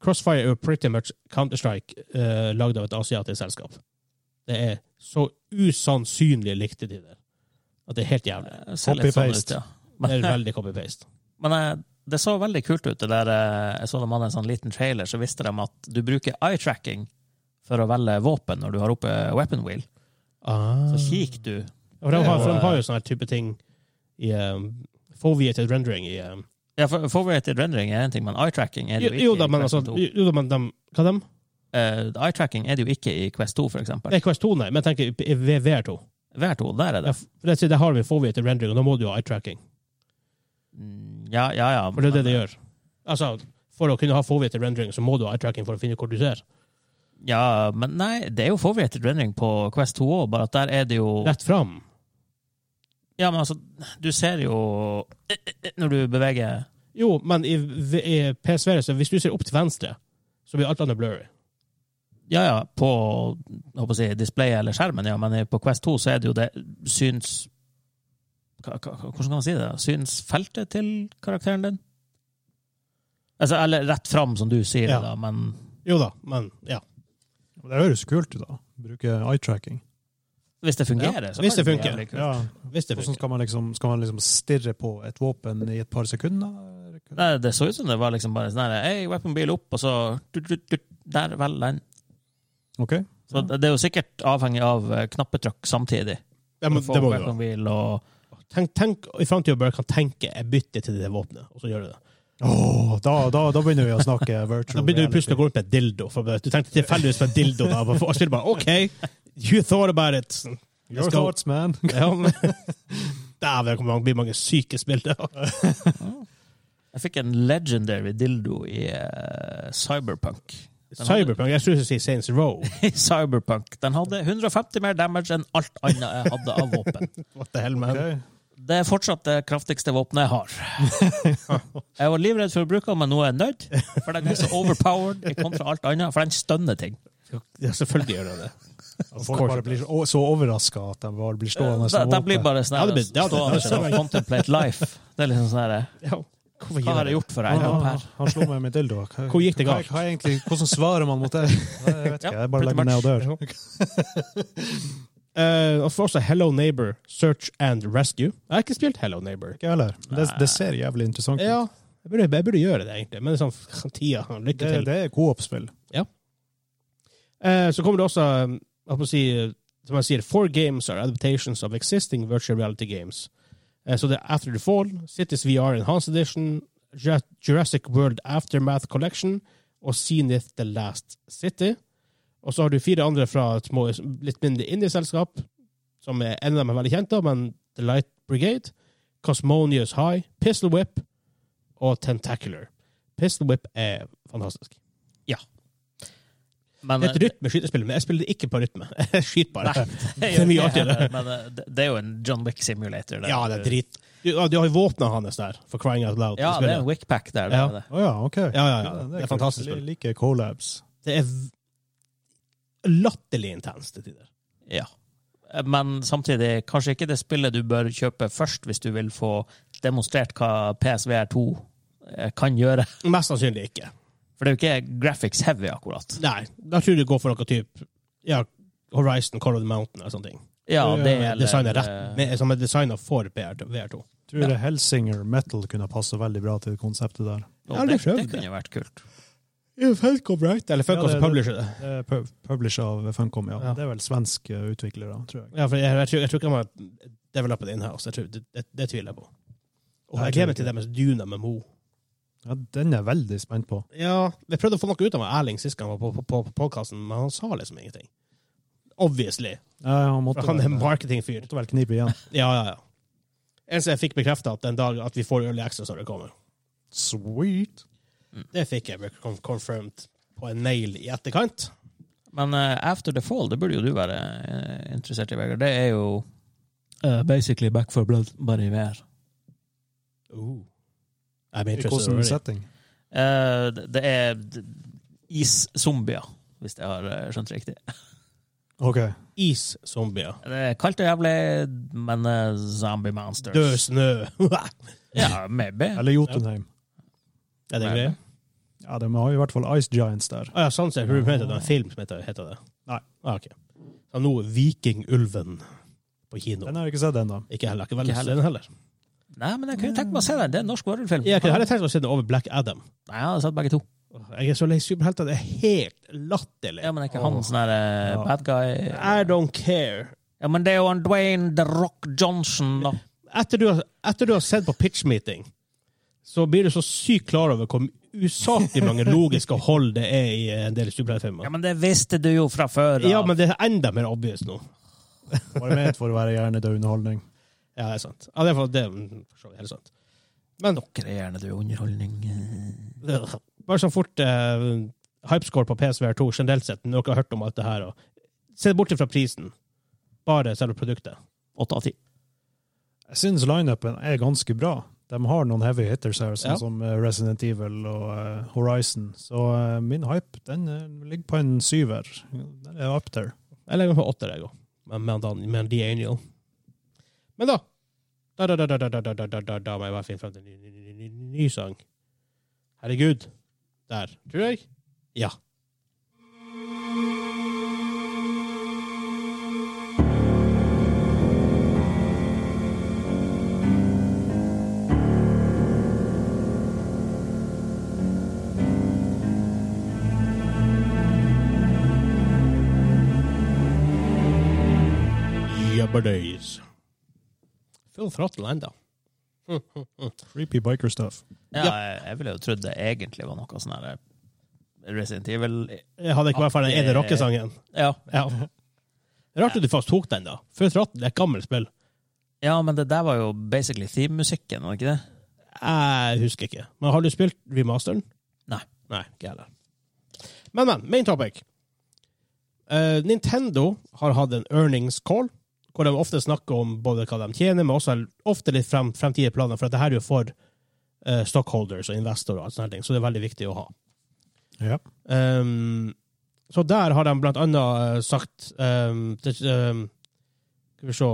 B: Crossfire er jo pretty much Counter-Strike uh, lagd av et asiatisk selskap. Det er så usannsynlig likt i de der. At det er helt jævlig.
A: Det ser litt sånn ut,
C: Copy-paste.
A: ja.
B: Det
A: Men,
B: er veldig copy-paste.
A: men eh, det så veldig kult ut. det der, eh, Jeg så de hadde en sånn liten trailer, så visste de at du bruker eye-tracking for å velge våpen når du har oppe weapon wheel.
C: Ah.
B: Ah.
A: Så kikker du.
B: Ja, For de har, for
A: Det er jo,
B: de har jo sånne her type ting i um, Foviated rendering i um,
A: Ja, for Forwarded rendering er én ting, men eye-tracking er det
B: jo,
A: jo ikke.
B: jo da,
A: i
B: men
A: Quest
B: altså
A: 2.
B: jo, da, men de, Hva dem?
A: Eh, Eye-tracking er det jo ikke i Quest 2, for
B: Det
A: eksempel.
B: er Quest 2, nei, men jeg tenker i V- VR2.
A: Hver to, der er
B: Ja,
A: det.
B: for det, det har vi Foviated rendering, og da må du jo ha eye-tracking.
A: Mm, Ja, ja, ja.
B: For det er det det gjør. Altså, for å kunne ha forvirret rendering, så må du ha eye-tracking for å finne ut hvor du ser.
A: Ja, men nei, det er jo forwarded rendering på Quest 2 òg, bare at der er det jo
B: Rett fram.
A: Ja, men altså, du ser jo eh, eh, Når du beveger
B: Jo, men i, v- i PSV, så hvis du ser opp til venstre, så blir alt annet blurry.
A: Ja, ja, på jeg håper å si, displayet eller skjermen, ja, men på Quest 2 så er det jo det syns... hva- hva- Hvordan kan man si det? da? Synsfeltet til karakteren din? Altså, eller rett fram, som du sier
B: Ja.
A: det, da, men
B: Jo da, men ja.
C: Det høres kult ut, da. Bruke eye-tracking.
A: hvis det fungerer,
B: Ja,
A: så
B: hvis
A: kan
B: det
A: bli
B: funker.
A: jævlig kult.
C: Ja.
B: Hvis det
C: Hvordan
B: funker.
C: skal man, liksom, skal man liksom stirre på et våpen i et par sekunder?
A: Nei, det så ut som det var liksom bare sånn her Hei, weaponbil opp, og så tut, tut, tut, Der, vel den.
C: OK.
A: Så det det er jo sikkert avhengig av eh, knappetrykk samtidig.
B: Ja, men,
A: For å
B: det
A: få
B: må du ha.
A: weaponbil og
B: Tenk, tenk i framtida bare kan tenke 'jeg bytter til det våpenet', og så gjør du det.
C: Åh, da, da, da begynner vi å snakke virtual
B: Da begynner du plutselig å
C: reality.
B: gå rundt med dildo. For du tenkte tilfeldigvis på en dildo, da, og for- og spiller bare 'OK, you thought about it'.
C: Your
B: skal-
C: thoughts, man.
B: Ja, men- Dæven, det kommer til å bli mange syke spill. da.
A: Jeg fikk en legendary dildo i eh, Cyberpunk. Den hadde-
B: Cyberpunk, jeg skulle si Saints Row.
A: I Cyberpunk. Den hadde 150 mer damage enn alt annet jeg hadde av våpen.
B: What the hell, man?
C: Ok.
A: Det er fortsatt det kraftigste våpenet jeg har. Jeg var livredd for å bruke den, men nå er jeg nødt. For den er så overpowered i kontra alt annet, for den stønner ting.
B: Ja, selvfølgelig gjør den det.
C: Folk
B: course.
C: bare blir så- så overraska at de bare blir stående
A: De,
C: som
A: de blir
C: våpen.
A: bare sånn
B: Ja,
A: her
B: det blir- ja, det-
A: stående
B: det skjønner
A: og
B: jeg.
A: contemplate life. Det er liksom sånn her
B: Hvorfor
A: Hva har jeg gjort for deg,
C: Ah,
A: Per?
C: han slo meg med dildo. Hva-
B: Hvor gikk det
C: hva-
B: galt?
C: hva er egentlig- Hvordan svarer man mot det? Jeg vet
A: Ja,
C: ikke, jeg bare
A: pretty
C: legger meg ned og dør.
B: Eh, og så også Hello Neighbor, Search and Rescue. Jeg har ikke spilt Hello Neighbor.
C: Ikke heller. Det, det ser jævlig interessant ut.
B: Ja, jeg burde, jeg burde gjøre det, egentlig. Men det er sånn tida. Lykke
C: Det,
B: til.
C: det er co-op-spill.
B: Eh, så kommer det også, eh, jeg holdt på å si, eh, som jeg sier, four games are adaptations of existing virtual reality games. Eh, så det er After the Fall, Cities VR Enhanced Edition, Ju- Jurassic World Aftermath Collection og Zenith The Last City. Og så har du fire andre fra små, litt mindre indie-selskap, som er en av dem er veldig kjent, da, men The Light Brigade, Cosmonius High, Pistol Whip og Tentacular. Pistol Whip er fantastisk.
A: Men,
B: Det er et rytmeskytespill, men jeg spiller det ikke på rytme. Jeg skyter bare.
A: Nei, det
B: Det er mye
A: jo-
B: artigere.
A: Men eh, det- det er jo en John Wick simulator. der.
B: Ja, det er drit. Du, ja, du har jo våpna hans der, for crying out loud.
A: Ja, det er en
B: spillet.
A: Wickpack der. Det
B: Ja.
A: er det.
C: Å ja, OK.
B: ja, ja, ja. Det er
C: kult.
B: fantastisk
C: Jeg
B: spill.
C: liker collabs.
B: Det er v- latterlig intenst til tider.
A: Ja. Men samtidig, kanskje ikke det spillet du bør kjøpe først hvis du vil få demonstrert hva PSVR2 eh, kan gjøre.
B: Mest sannsynlig ikke.
A: For det er jo ikke graphics heavy, akkurat.
B: Nei, da tror jeg du går for noe type ja, Horizon, Call of the Mountain eller sånne ting.
A: Ja, det eh,
B: Som er
A: eller-
B: designet rett- med- Som er designa for VR2.
C: Tror det Hellsinger Metal kunne passe veldig bra til det konseptet der.
A: Og
B: Ja, det
A: det,
B: prøvde
A: det
B: jeg.
A: kunne jo vært kult.
B: Fuck right. Eller fuck
C: Ja,
B: oss
C: det-
B: som publisher det.
C: Det er pub- Publisher av Funcom, ja.
B: Ja.
C: Det er vel svenske utviklere, tror jeg.
B: Ja, for jeg, jeg, tror, jeg tror ikke de har developet det in-house. Jeg tror- Det, det, det tviler jeg på. Og
C: Nei,
B: jeg
C: jeg tror
B: gleder meg til
C: ikke.
B: deres Duna med Mo.
C: Ja, den er jeg veldig spent på.
B: Ja, jeg prøvde å få noe ut av meg, Erling sist gang han var på, på, på podkasten, men han sa liksom ingenting. Obviously.
C: Nei, han måtte,
B: For han er en
C: vel,
B: marketingfyr.
C: måtte vel knipe igjen.
B: Ja, ja, ja. Eneste jeg fikk bekrefta at den dag at vi får Early Access når det kommer.
C: Sweet!
B: Det fikk jeg con- confirmed på en mail i etterkant.
A: Men eh, After the Fall, det burde jo du være eh, interessert i, Vegard. Det er jo eh, basically Back for Blood, bare i VR.
B: I'm
C: Uh. I
B: interested
C: hvordan
B: already.
C: setting.
A: Eh, det- det er d- iszombier, hvis jeg har eh, skjønt riktig.
C: OK.
B: Is-zombier.
A: Det er kaldt og jævlig, men eh, zombie monsters.
B: Død snø.
A: Ja, maybe.
C: Eller Jotunheim.
B: er det greia?
C: Ja, de har jo i hvert fall Ice Giants der.
B: Ah, ja, sånn sett. Hun mente det var en film som heter, heter det.
C: Nei.
B: Ah, ok. Så nå Vikingulven på kino.
C: Den har jeg ikke sett ennå.
B: Ikke heller. Ikke veldig
A: Ikke heller.
B: den heller.
A: Nei, men jeg kunne tenkt meg å se den. Det er en norsk horrorfilm.
B: Jeg kunne
A: Nei,
B: heller tenkt meg å se den over Black Adam.
A: jeg har sett begge to.
B: Jeg er så lei superhelter. Det er helt latterlig.
A: Ja, men er ikke han sånn her eh,
C: Ja.
A: bad guy?
B: I don't care.
A: Ja, men det er jo han Dwayne The Rock Johnson, da.
B: Etter du, har- etter du har sett på pitch meeting, så blir du så sykt klar over hvor usaklig mange logiske hold det er i en del
A: Ja,
B: superheltfilmer.
A: men det visste du jo fra før. da.
B: Ja, men det er enda mer obvious nå.
C: Bare ment for å være hjernedød underholdning.
B: Ja, det er sant. Ja, det er for, det er mm, for så vidt helt sant. Men øh,
A: Dere er gjerne du underholdning. eh.
B: bare så fort eh, hypescore på PSVR2 generelt sett, når dere har hørt om alt det her, og se bort fra prisen, bare selve produktet.
A: Åtte av ti.
C: Jeg syns lineupen er ganske bra. De har noen heavy hitters her, sånn
B: Ja.
C: som eh, Resident Evil og eh, Horizon. Så eh, min hype den eh, ligger på en syver. Den er up there.
B: Jeg legger meg på åtter, jeg òg. Men med han- med han D'Angel. Men da Da, da, da, da, da, da, da, da, da, da, da må jeg bare finne frem til en ny, ny, ny, ny, ny, ny sang. Herregud. Der. Tror jeg. Ja. Jabberdays. Full throttle enda.
C: Creepy biker stuff.
A: Ja,
B: Ja.
A: jeg- jeg ville jo trodd det egentlig var noe sånn her eh, Resident Evil
B: Jeg hadde ikke i hvert fall den ene rockesangen.
A: Ja.
B: Ja. Rart at du faktisk tok den, da. Full throttle er et gammelt spill.
A: ja, men det der var jo basically theme-musikken, var det ikke det?
B: Jeg husker ikke. Men har du spilt remasteren?
A: Nei.
B: Nei, ikke heller. Men, men. Main topic. Eh, Nintendo har hatt en earnings call, hvor de ofte snakker om både hva de tjener, men også ofte litt frem, fremtidige planer, for at det her er jo for eh, stockholders og investorer, og alt sånne ting, så det er veldig viktig å ha.
C: Ja.
B: Um, så der har de blant annet eh, sagt um, det, um, Skal vi se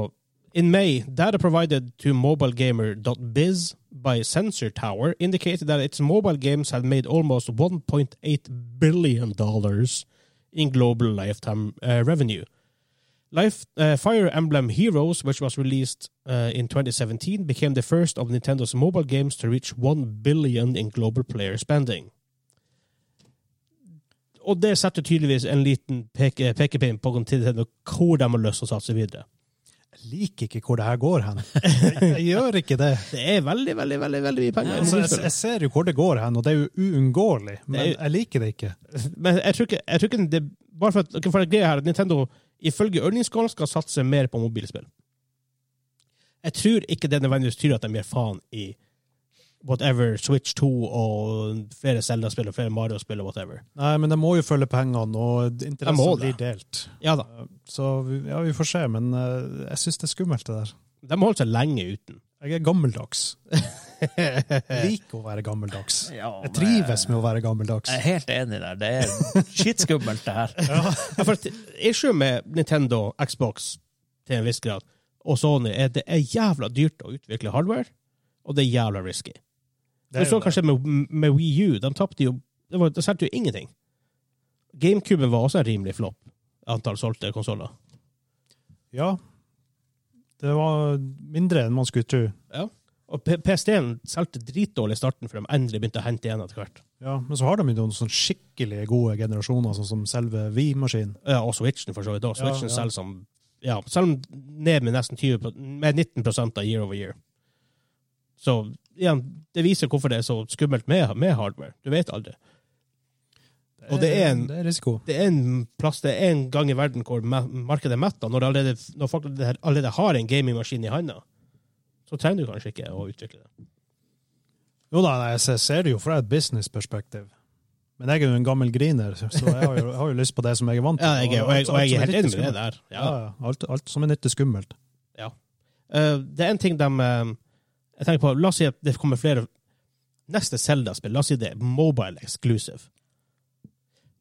B: In May, data provided to mobilegamer.biz by Sensor Tower indicated that its mobile games had made almost 1.8 billion dollars in global lifetime uh, revenue. Life, uh, Fire Emblem Heroes, which was released uh, in 2017, became the first of Nintendo's mobile games to reach 1 billion in global player spending. Og det setter tydeligvis en liten peke, pekepinn på Nintendo hvor de har lyst til å satse videre.
C: Jeg liker ikke hvor det her går hen. Jeg gjør ikke det.
B: Det er veldig, veldig veldig, veldig mye penger. i
C: Altså, jeg,
B: mobilspill.
C: jeg ser jo hvor det går hen, og det er jo uunngåelig, men
B: Det er-
C: jeg liker det ikke.
B: Men jeg tror ikke, jeg tror ikke det, bare for at, for at greia her, at Nintendo ifølge Ørningskål skal satse mer på mobilspill. Jeg tror ikke det nødvendigvis betyr at de gir faen i whatever Switch 2 og flere Zelda-spill og flere Mario-spill og whatever.
C: Nei, men de må jo følge pengene, og
B: De må
C: interessen
B: det.
C: blir delt.
B: Ja da,
C: Så vi- ja, vi får se, men eh, jeg syns det er skummelt, det der.
B: de har holdt seg lenge uten.
C: Jeg er gammeldags. Jeg liker å være gammeldags.
A: Ja,
C: Jeg trives med å være gammeldags.
A: Jeg er helt enig der. Det er skittskummelt, det her.
B: Ja, for at Issue med Nintendo, Xbox til en viss grad, og Sony er det er jævla dyrt å utvikle hardware, og det er jævla risky.
C: Det er
B: du så
C: jo det.
B: kanskje med, med Wii U. De tapte jo Det, var, det solgte jo ingenting. GameCuben var også en rimelig flopp, antall solgte konsoller.
C: Ja. Det var mindre enn man skulle tro.
B: Og P- PST-en solgte dritdårlig i starten, for de endelig begynte å hente igjen etter hvert.
C: Ja, men så har de jo noen sånn skikkelig gode generasjoner, sånn som selve Vi-maskinen.
B: Ja, og Switchen, for så vidt. Og
C: Ja,
B: Switchen
C: ja.
B: selger som ja, Selv om ned med nesten 20 pro- Med 19 av year over year. Så igjen, det viser hvorfor det er så skummelt med, med hardware. Du vet aldri. Og det er en-
C: det er risiko.
B: det er en plass, det er en gang i verden hvor ma- markedet er mettet, når, det allerede, når folk allerede- allerede har en gamingmaskin i handa, så trenger du kanskje ikke å utvikle det.
C: Jo da, nei, jeg ser- ser det jo fra et businessperspektiv. Men jeg er jo en gammel griner, så jeg har jo, jeg har jo lyst på det som jeg er vant til.
B: Ja, jeg, er- og jeg, og jeg er helt enig med det der.
C: Ja.
B: Ja.
C: ja, alt, alt som er nytt, er skummelt.
B: Eh, det er en ting de eh, Jeg tenker på, La oss si at det kommer flere neste Zelda-spill. La oss si det er mobile exclusive.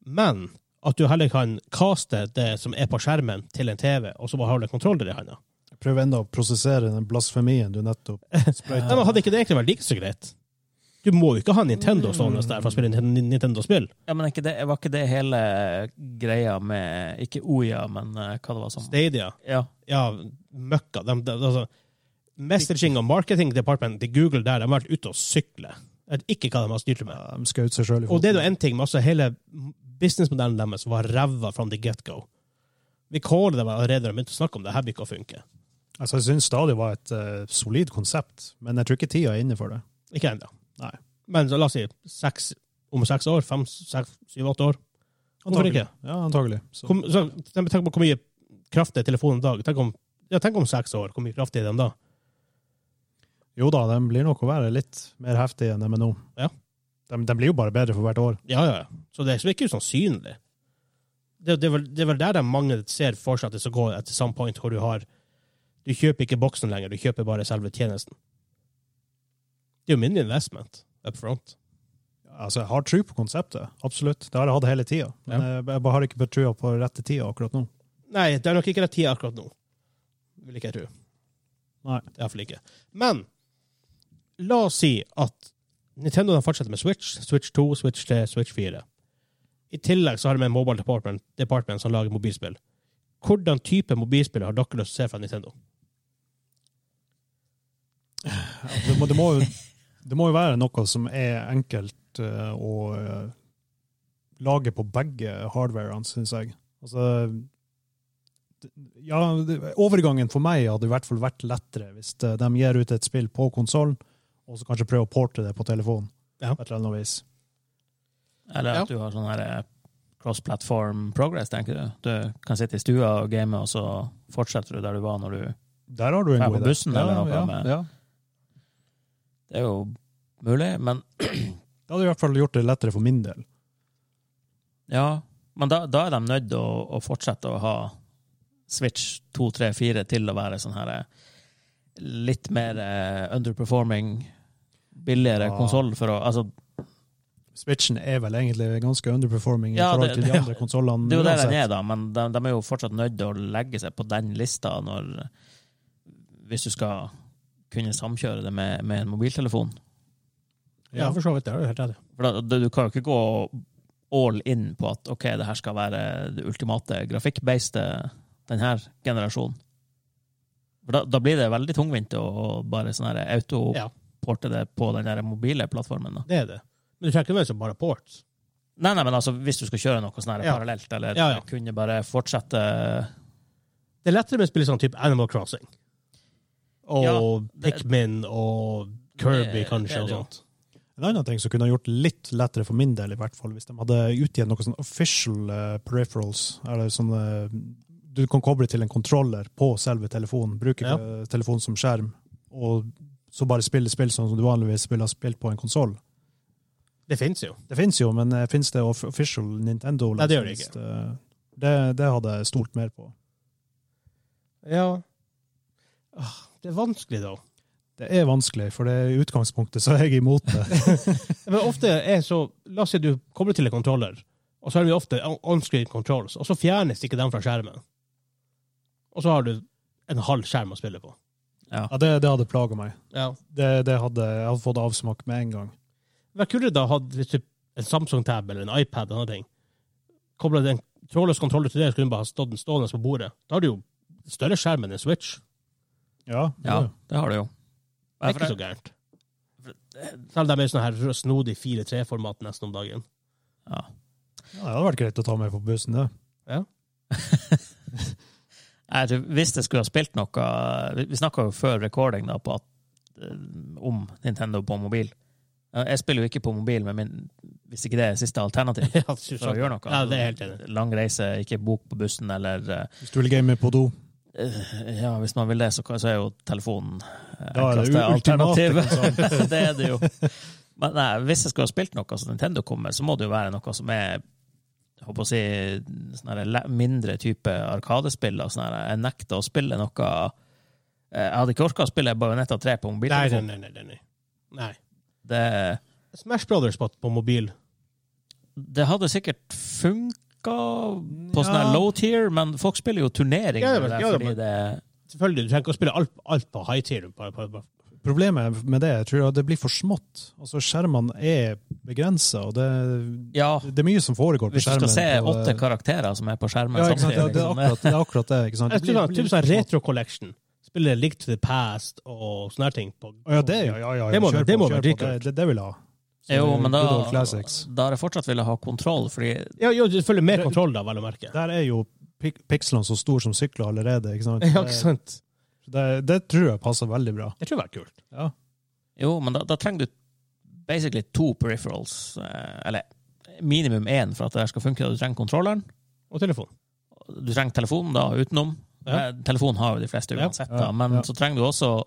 B: Men at du heller kan caste det som er på skjermen, til en TV, og så bare har du en kontroller i handa.
C: Jeg prøver enda å prosessere den blasfemien du nettopp
B: Nei, men Hadde ikke det egentlig vært like så greit? Du må jo ikke ha Nintendo stående der for å spille Nintendo- Nintendo-spill.
A: Ja, men er ikke det, var ikke det hele greia med Ikke Oya, men eh, hva det var som
B: Stadia.
A: Ja.
B: ja, møkka. De, de, altså, messaging og marketing department til Google der, de har vært ute og sykle. Jeg vet ikke hva de har styrt med.
C: De eh, skjøt seg sjøl i
B: Og det er nå
C: foten.
B: en ting, men altså hele businessmodellen deres var ræva from the get-go. Vi caller dem allerede og begynte å snakke om det her blir ikke å funke.
C: Altså, jeg syns Stadia var et eh, solid konsept, men jeg tror ikke tida er inne for det.
B: Ikke ennå.
C: Nei.
B: Men så la oss si seks, om seks år, fem, seks, syv, åtte år. Hvorfor
C: Antagelig.
B: ikke?
C: Ja, antagelig. Så.
B: Kom, så, tenk tenk på hvor mye kraft det er i telefonen i dag. Tenk om, ja, tenk om seks år, hvor mye kraft er det i dem da?
C: Jo da, de blir nok å være litt mer heftige enn de er nå.
B: Ja.
C: De, de blir jo bare bedre for hvert år.
B: Ja, ja. ja. Så det er ikke usannsynlig. Det, det, er vel, det er vel der de mange ser for seg at det skal gå etter some point hvor du har Du kjøper ikke boksen lenger, du kjøper bare selve tjenesten. Det er jo min investment up front.
C: Altså, Jeg har tro på konseptet, absolutt. Det har jeg hatt hele tida. Men jeg, jeg bare har ikke trua på rette tida akkurat nå.
B: Nei, det er nok ikke rett tid akkurat nå. Vil ikke jeg tro.
C: Nei.
B: Det er Iallfall ikke. Men la oss si at Nintendo de fortsetter med Switch, Switch 2, Switch 3, Switch 4. I tillegg så har de en mobile department, department som lager mobilspill. Hvordan type mobilspill har dere lyst til å se fra Nintendo?
C: Ja, Det må, det, må jo, det må jo være noe som er enkelt eh, å eh, lage på begge hardwarene, syns jeg. Altså det- Ja, det- overgangen for meg hadde i hvert fall vært lettere hvis eh, de gir ut et spill på konsollen, og så kanskje prøver å porte det på telefonen
B: Ja.
C: på et eller annet vis.
A: Eller
B: Ja.
A: at du har sånn her eh, cross-platform progress, tenker du. Du kan sitte i stua og game, og så fortsetter du der du var når du
C: Der har du en
A: Være
C: god
A: på
C: idé.
A: bussen eller noe
C: ja,
A: med-
C: ja.
A: Det er jo mulig, men
C: Det hadde i hvert fall gjort det lettere for min del.
A: ja. Men da, da er de nødt til å, å fortsette å ha Switch 2, 3, 4 til å være sånn her eh, litt mer eh, underperforming, billigere
C: Ja.
A: konsoll for å Altså,
C: Switchen er vel egentlig ganske underperforming
A: Ja,
C: i forhold
A: det-
C: til de
A: ja.
C: andre konsollene.
A: Det er jo der den
C: uansett.
A: er, da, men de, de er jo fortsatt nødt til å legge seg på den lista når, hvis du skal kunne samkjøre det med, med en mobiltelefon.
C: Ja,
B: for så vidt. Det har du helt rett i.
A: For da, Du kan jo ikke gå all in på at ok, det her skal være det ultimate grafikkbeiste denne generasjonen. For da, da blir det veldig tungvint å å bare sånn her
B: Ja.
A: autoporte det på den der mobile plattformen. da.
B: Det er det. Men du trenger ikke være som bare port.
A: Nei, nei, men altså, hvis du skal kjøre noe sånn her
B: Ja.
A: parallelt, eller
B: Ja, ja.
A: kunne bare fortsette
B: Det er lettere med spill som type Animal Crossing. Og
A: Ja, det-
B: Pikmin og Kirby,
A: Det- det
B: kanskje,
A: er
B: og
A: det jo.
B: sånt.
C: En annen ting som kunne ha gjort litt lettere for min del, i hvert fall, hvis de hadde utgitt noe sånn official eh, peripherals, eller sånn eh, du kan koble til en kontroller på selve telefonen, bruke
B: Ja.
C: eh, telefonen som skjerm, og så bare spille spill sånn som du vanligvis ville ha spilt på en konsoll.
B: Det fins jo.
C: Det fins jo, men uh, fins det off- official Nintendo?
B: Nei, det gjør det ikke.
C: lisens? Det, det, det hadde jeg stolt mer på.
B: Ja. Åh, Ah, Det er vanskelig, da.
C: Det er vanskelig, for det er i utgangspunktet så er jeg imot det.
B: Men ofte er så La oss si du kommer til en kontroller, og så har vi ofte on- onscreen controls, og så fjernes ikke den fra skjermen. Og så har du en halv skjerm å spille på.
A: ja.
C: Ja, det, det hadde plaga meg.
B: Ja.
C: Det, det hadde, jeg hadde fått avsmak med en gang.
B: Hva kunne du da hatt hvis du en Samsung-tab eller en iPad eller noe? Kobla den trådløs kontroller til det, skulle den bare ha stått den stående på bordet. Da har du jo større skjerm enn en Switch.
C: Ja,
A: Ja, det har du jo.
B: Det er ikke så gærent. Selv om de er sånn her snodig 4-3-format nesten om dagen.
A: Ja.
C: Ja, det hadde vært greit å ta med på bussen, det.
A: Jeg tror, hvis jeg skulle ha spilt noe Vi, vi snakka jo før recording da, på at, eh, om Nintendo på mobil. Eh, Jeg spiller jo ikke på mobil, men min, hvis ikke det er siste alternativ
B: ja, synes
A: for å
B: jeg.
A: gjøre noe.
B: Ja, det er jeg helt enig. i.
A: Lang reise, ikke bok på bussen eller
C: Hvis du vil game på do.
A: eh, Ja, hvis man vil det, så, kan- så er jo telefonen eh,
C: Da er det
A: enkleste
C: ultimate
A: alternativet. det er det jo. Men nei, hvis jeg skulle ha spilt noe som Nintendo kommer, så må det jo være noe som er jeg håper å si, sånn her le- mindre type arkadespill. og sånn her. Jeg nekter å spille noe Eh, Jeg hadde ikke orka å spille Bajonetta 3 på
B: Nei, nei,
A: mobiltelefon.
B: nei. nei, nei, nei. nei.
A: Det,
B: Smash Brothers på, på mobil.
A: det hadde sikkert funka på sånn her
C: Ja.
A: low tier, men folk spiller jo turnering.
B: Ja, det
A: med
B: var-
A: det
B: ja, det
A: fordi det,
B: Selvfølgelig, du trenger ikke å spille alt, alt på high tier. På, på, på.
C: Problemet med det jeg tror jeg, det blir for smått. Altså, skjermene er begrensa, og det,
A: ja,
C: det er mye som foregår på
A: hvis du skal
C: skjermen.
A: se
C: og, eh,
A: åtte karakterer som er på skjermen
C: ja, ikke sant?
A: samtidig
C: Ja, det, er
A: liksom.
C: akkurat, det er akkurat det. ikke sant?
B: Jeg spiller
C: blir-
B: typ sånn retro collection. Spiller Link to the Past og sånne her ting. På,
C: Å, Ja, det, ja, ja, ja,
B: Det må-
C: kjør på,
B: det må
C: kjør
B: være
C: på.
B: dritkult.
C: Det, det, det vil jeg ha. Så
A: Jo, men da,
C: Good old eh, classics.
A: da har jeg fortsatt ville ha kontroll, fordi
B: ja, ja, selvfølgelig mer kontroll, da, vel å merke.
C: Der er jo pik pikslene så store som sykler allerede. ikke sant?
B: Ja, ikke sant?
C: Det, det tror jeg passer veldig bra.
B: Det tror jeg var kult.
C: Ja.
A: Jo, men da, da trenger du basically to peripherals. eh, Eller minimum én for at det her skal funke. Du trenger kontrolleren.
B: Og telefon.
A: Du trenger telefonen da utenom.
B: Ja.
A: Eh, Telefonen har jo de fleste
B: Ja.
A: uansett,
C: Ja,
A: da. men
C: ja.
A: så trenger du også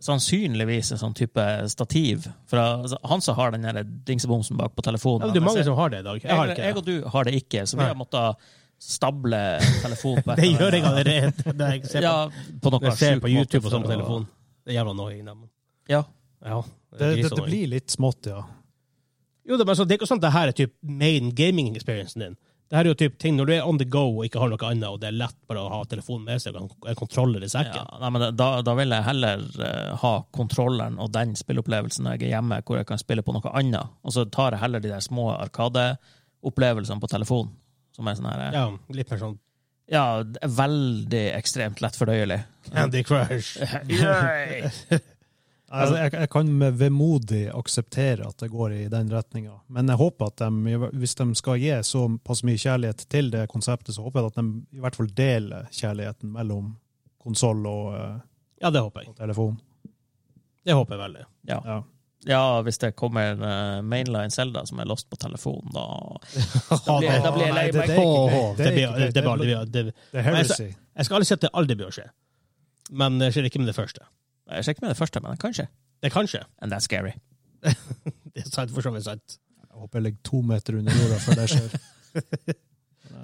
A: sannsynligvis en sånn type stativ. For altså, han som har den der dingsebomsen bak på telefonen
B: Ja, det er
A: han-
B: mange
A: jeg-
B: som har det i dag. Jeg har
A: jeg,
B: ikke
A: jeg
B: det.
A: og du har det ikke, så vi har
B: Nei.
A: måttet stable telefonen på
B: Det gjør jeg allerede. Det er jeg ser på,
A: Ja, på noe
B: jeg ser
A: sjuk
B: på
A: måte
B: YouTube
A: for
B: og sånn på
A: å-
B: telefonen. Det er jævla annoying. da, men-
A: Ja.
B: Ja,
C: Det, det,
B: griseannoying.
C: det blir litt smått, ja.
B: Jo, det er, bare sånn, det er ikke sånn at det her er typ main gaming-experiencen din. Det her er jo typ ting når du er on the go og ikke har noe annet, og det er lett bare å ha telefonen med seg og kan- en kontroller i
A: Ja,
B: sekken.
A: nei, men da, da vil jeg heller eh, ha kontrolleren og den spilleopplevelsen når jeg er hjemme, hvor jeg kan spille på noe annet. Og så tar jeg heller de der små arkadeopplevelsene på telefonen. Som er sånn her eh,
B: Ja, litt mer sånn
A: Ja, det er veldig ekstremt lett fordøyelig.
B: Candy Crush.
C: Altså, jeg, jeg kan med vemodig akseptere at det går i den retninga, men jeg håper at de, hvis de skal gi såpass mye kjærlighet til det konseptet, så håper jeg at de i hvert fall deler kjærligheten mellom konsoll og, eh,
B: Ja, det håper jeg.
C: og telefon.
B: Det håper jeg veldig.
C: Ja.
A: Ja, hvis det kommer eh, mainline Zelda som er lost på telefonen, da
B: Da
A: blir- da blir jeg lei meg.
C: Det er ikke
B: Det
C: greit.
B: blir-
C: Det er ikke greit.
B: det blir- det blir- det-
C: Det er heresy.
B: Jeg skal aldri si at det aldri bør skje, men det skjer ikke med det første.
A: Jeg sjekker med det første, men det kan skje.
B: Det kan skje.
A: And that's scary.
B: Det er sant, for så vidt sant.
C: Jeg håper jeg ligger to meter under jorda før det skjer.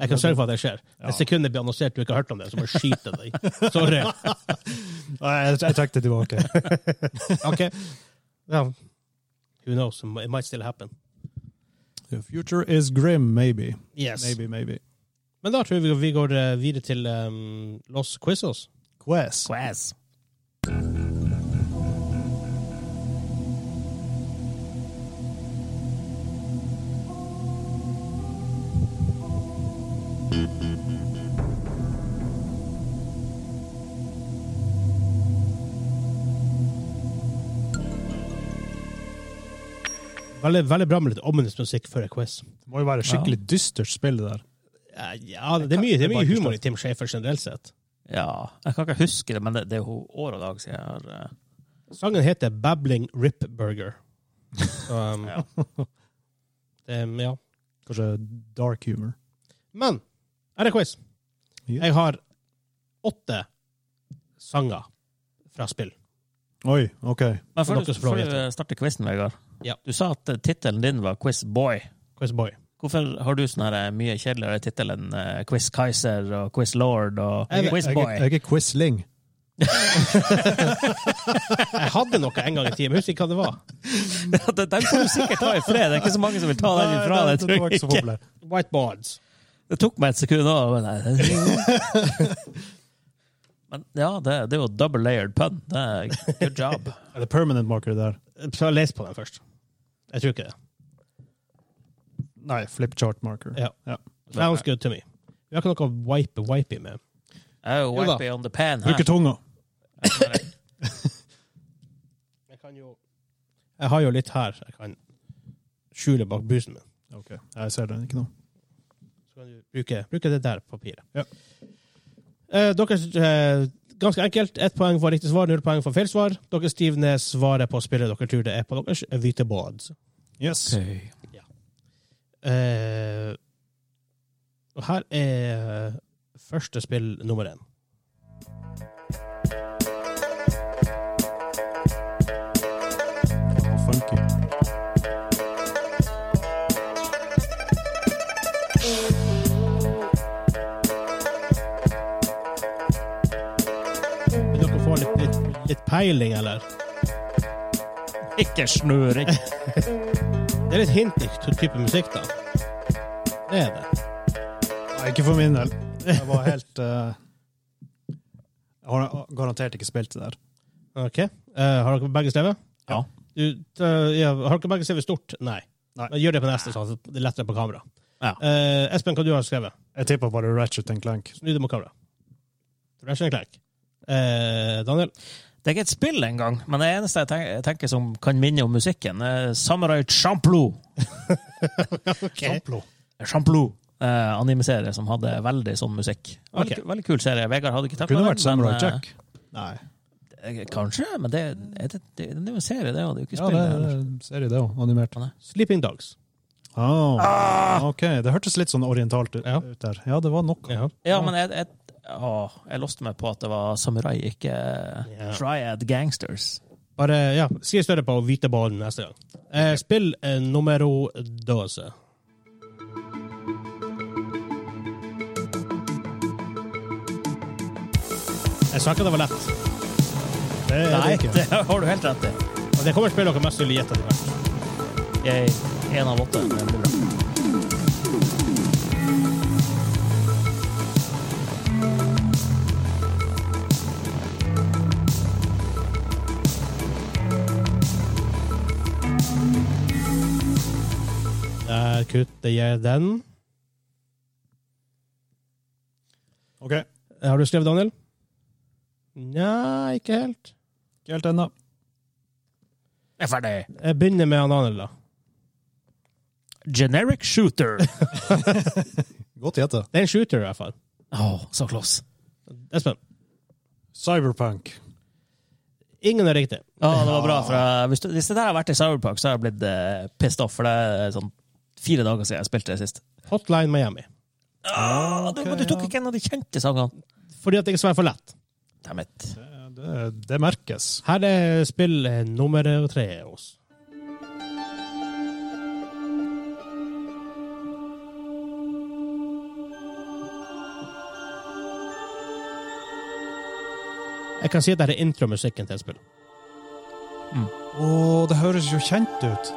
B: Jeg kan sørge for at det skjer.
C: Ja.
B: Hvis sekundet blir annonsert du ikke har hørt om det, så må jeg skyte deg. Sorry.
C: Nei, jeg, jeg trekker det tilbake.
B: Ok. Ja. Who knows? It might still happen.
C: The future is grim, maybe.
B: Yes.
C: Maybe, maybe.
B: Men da tror jeg vi går eh, videre til um, Los Quizzos.
C: Quest.
A: Quaz.
B: Veldig, veldig bra med litt ominous musikk før en quiz.
C: Det må jo være skikkelig dystert spill, det
B: Ja,
C: der.
B: Eh, ja, det er mye, det er mye humor i Tim Schafer generelt sett.
A: Ja, jeg kan ikke huske det, men det, det er jo år og dag siden jeg har eh,
B: Sangen heter Babbling Rip Burger. Så, um,
A: Ja.
B: det, um, ja.
C: Kanskje dark humor.
B: Men her er quiz.
C: Ja.
B: Jeg har åtte sanger fra spill.
C: Oi, OK.
A: Men
B: Og
A: før du,
B: noe som får
A: før
B: vite.
A: du starter quizen, Vegard.
B: Ja.
A: Du sa at eh, tittelen din var Quiz Boy.
B: Quizboy.
A: Hvorfor har du sånn her eh, mye kjedeligere tittel enn eh, Quiz Kaiser og Quiz Lord og
B: Jeg-
A: Quiz
C: Jeg,
A: Boy?
C: er- jeg er quisling.
B: Jeg hadde noe en gang i tiden, men husker ikke hva det var.
A: den den får du sikkert ta i fred. Det er ikke så mange som vil ta den ifra deg.
C: det var
A: tror
C: ikke
A: jeg
C: så
A: ikke.
C: populær.
B: Whiteboards.
A: Det tok meg et sekund òg. Men, nei. men ja, det, det er jo double layered pun. Det er good job.
C: Er det permanent marker der?
B: Så les på den først. Jeg tror ikke det.
C: Nei, flip chart marker.
B: Ja. Sounds good to me. Vi har ikke noe wipe-wipey med.
A: Oh,
B: Jo da.
A: wipey on the pan her.
C: Bruker tunga.
B: Jeg kan jo Jeg har jo litt her jeg kan skjule bak busen min.
C: OK, jeg ser den ikke nå.
B: Så kan du bruke, bruke det der papiret.
C: Ja.
B: Eh, dere, eh, ganske enkelt. Ett poeng for riktig svar, null poeng for feil svar. Dere skriver ned svaret på spillet dere tror det er på deres eh, hviteboards.
C: Yes.
A: Okay.
B: Eh, og her er første spill nummer én.
C: Og funky.
B: Vil dere få litt peiling, eller?
A: Ikke snøring.
B: Det er litt hint i t- type musikk, da. Det er det.
C: Nei, ikke for min del. Jeg var helt eh, Jeg har garantert ikke spilt det der.
B: Ok. Eh, har dere begge skrevet?
A: Ja.
B: Du, eh, ja, har dere begge skrevet stort? Nei.
C: Nei.
B: Men gjør det på neste, sånn at det er lettere på kamera.
A: Ja.
B: Eh, Espen, hva du har skrevet?
C: Jeg tipper bare Ratchet Clank.
B: Snu deg mot kamera. Ratchet and Clank. Eh, Daniel?
A: Det er ikke et spill engang, men det eneste jeg tenker, jeg tenker som kan minne om musikken, er Samurai Champloo.
C: Samplo.
A: Champloo. Eh, Anime-serie som hadde veldig sånn musikk. Veldig,
B: Ok.
A: veldig kul serie. Vegard hadde ikke takla
C: Kunne vært Samurai Jack. Nei.
A: eh, Kanskje, men det, er det, det, det er jo en serie, det. Og det er jo ikke
C: Ja,
A: spill.
C: det
A: det
C: er
A: heller.
C: en serie, det òg. Animert.
B: Sleeping Dogs.
C: Ah, OK, det hørtes litt sånn orientalt ut,
B: Ja.
C: ut der. Ja, det var noe.
B: Ja.
A: Ja, men jeg, jeg, å, jeg låste meg på at det var samurai, ikke
B: Ja.
A: triad gangsters.
B: Bare ja, skriv større på hviteballen neste gang. Eh, spill eh, numero dose. Jeg sa ikke det var lett.
C: Det er
A: Nei,
C: det ikke.
A: det har du helt rett i.
B: Og det kommer spill dere mest vil gjette. etter hvert.
A: Jeg er en av åtte. men det blir bra.
B: Der kutter jeg den.
C: OK, ikke
B: Eh, Har du skrevet, Daniel? Nja, ikke helt.
C: helt ennå.
A: Jeg er ferdig.
B: Jeg begynner med han Daniel, da.
A: Generic shooter.
C: Godt gjetta.
B: Det er en shooter, i hvert fall.
A: Å, så close.
B: Espen,
C: Cyberpunk.
B: ingen er riktig.
A: Ja, det var bra. For jeg, hvis, det- hvis det der har vært i Cyberpunk, så har jeg blitt eh, pissed off. For det er sånn fire dager siden jeg spilte det sist.
B: Hotline Miami.
A: Ah, du, men du tok
C: ja.
A: ikke en av de kjente sangene.
B: Fordi at det ikke svarer for lett.
A: Damn it.
C: Det, det merkes.
B: Her er spill eh, nummer tre hos. Jeg kan si at det er intromusikken til et spill.
C: Å, det høres jo kjent ut.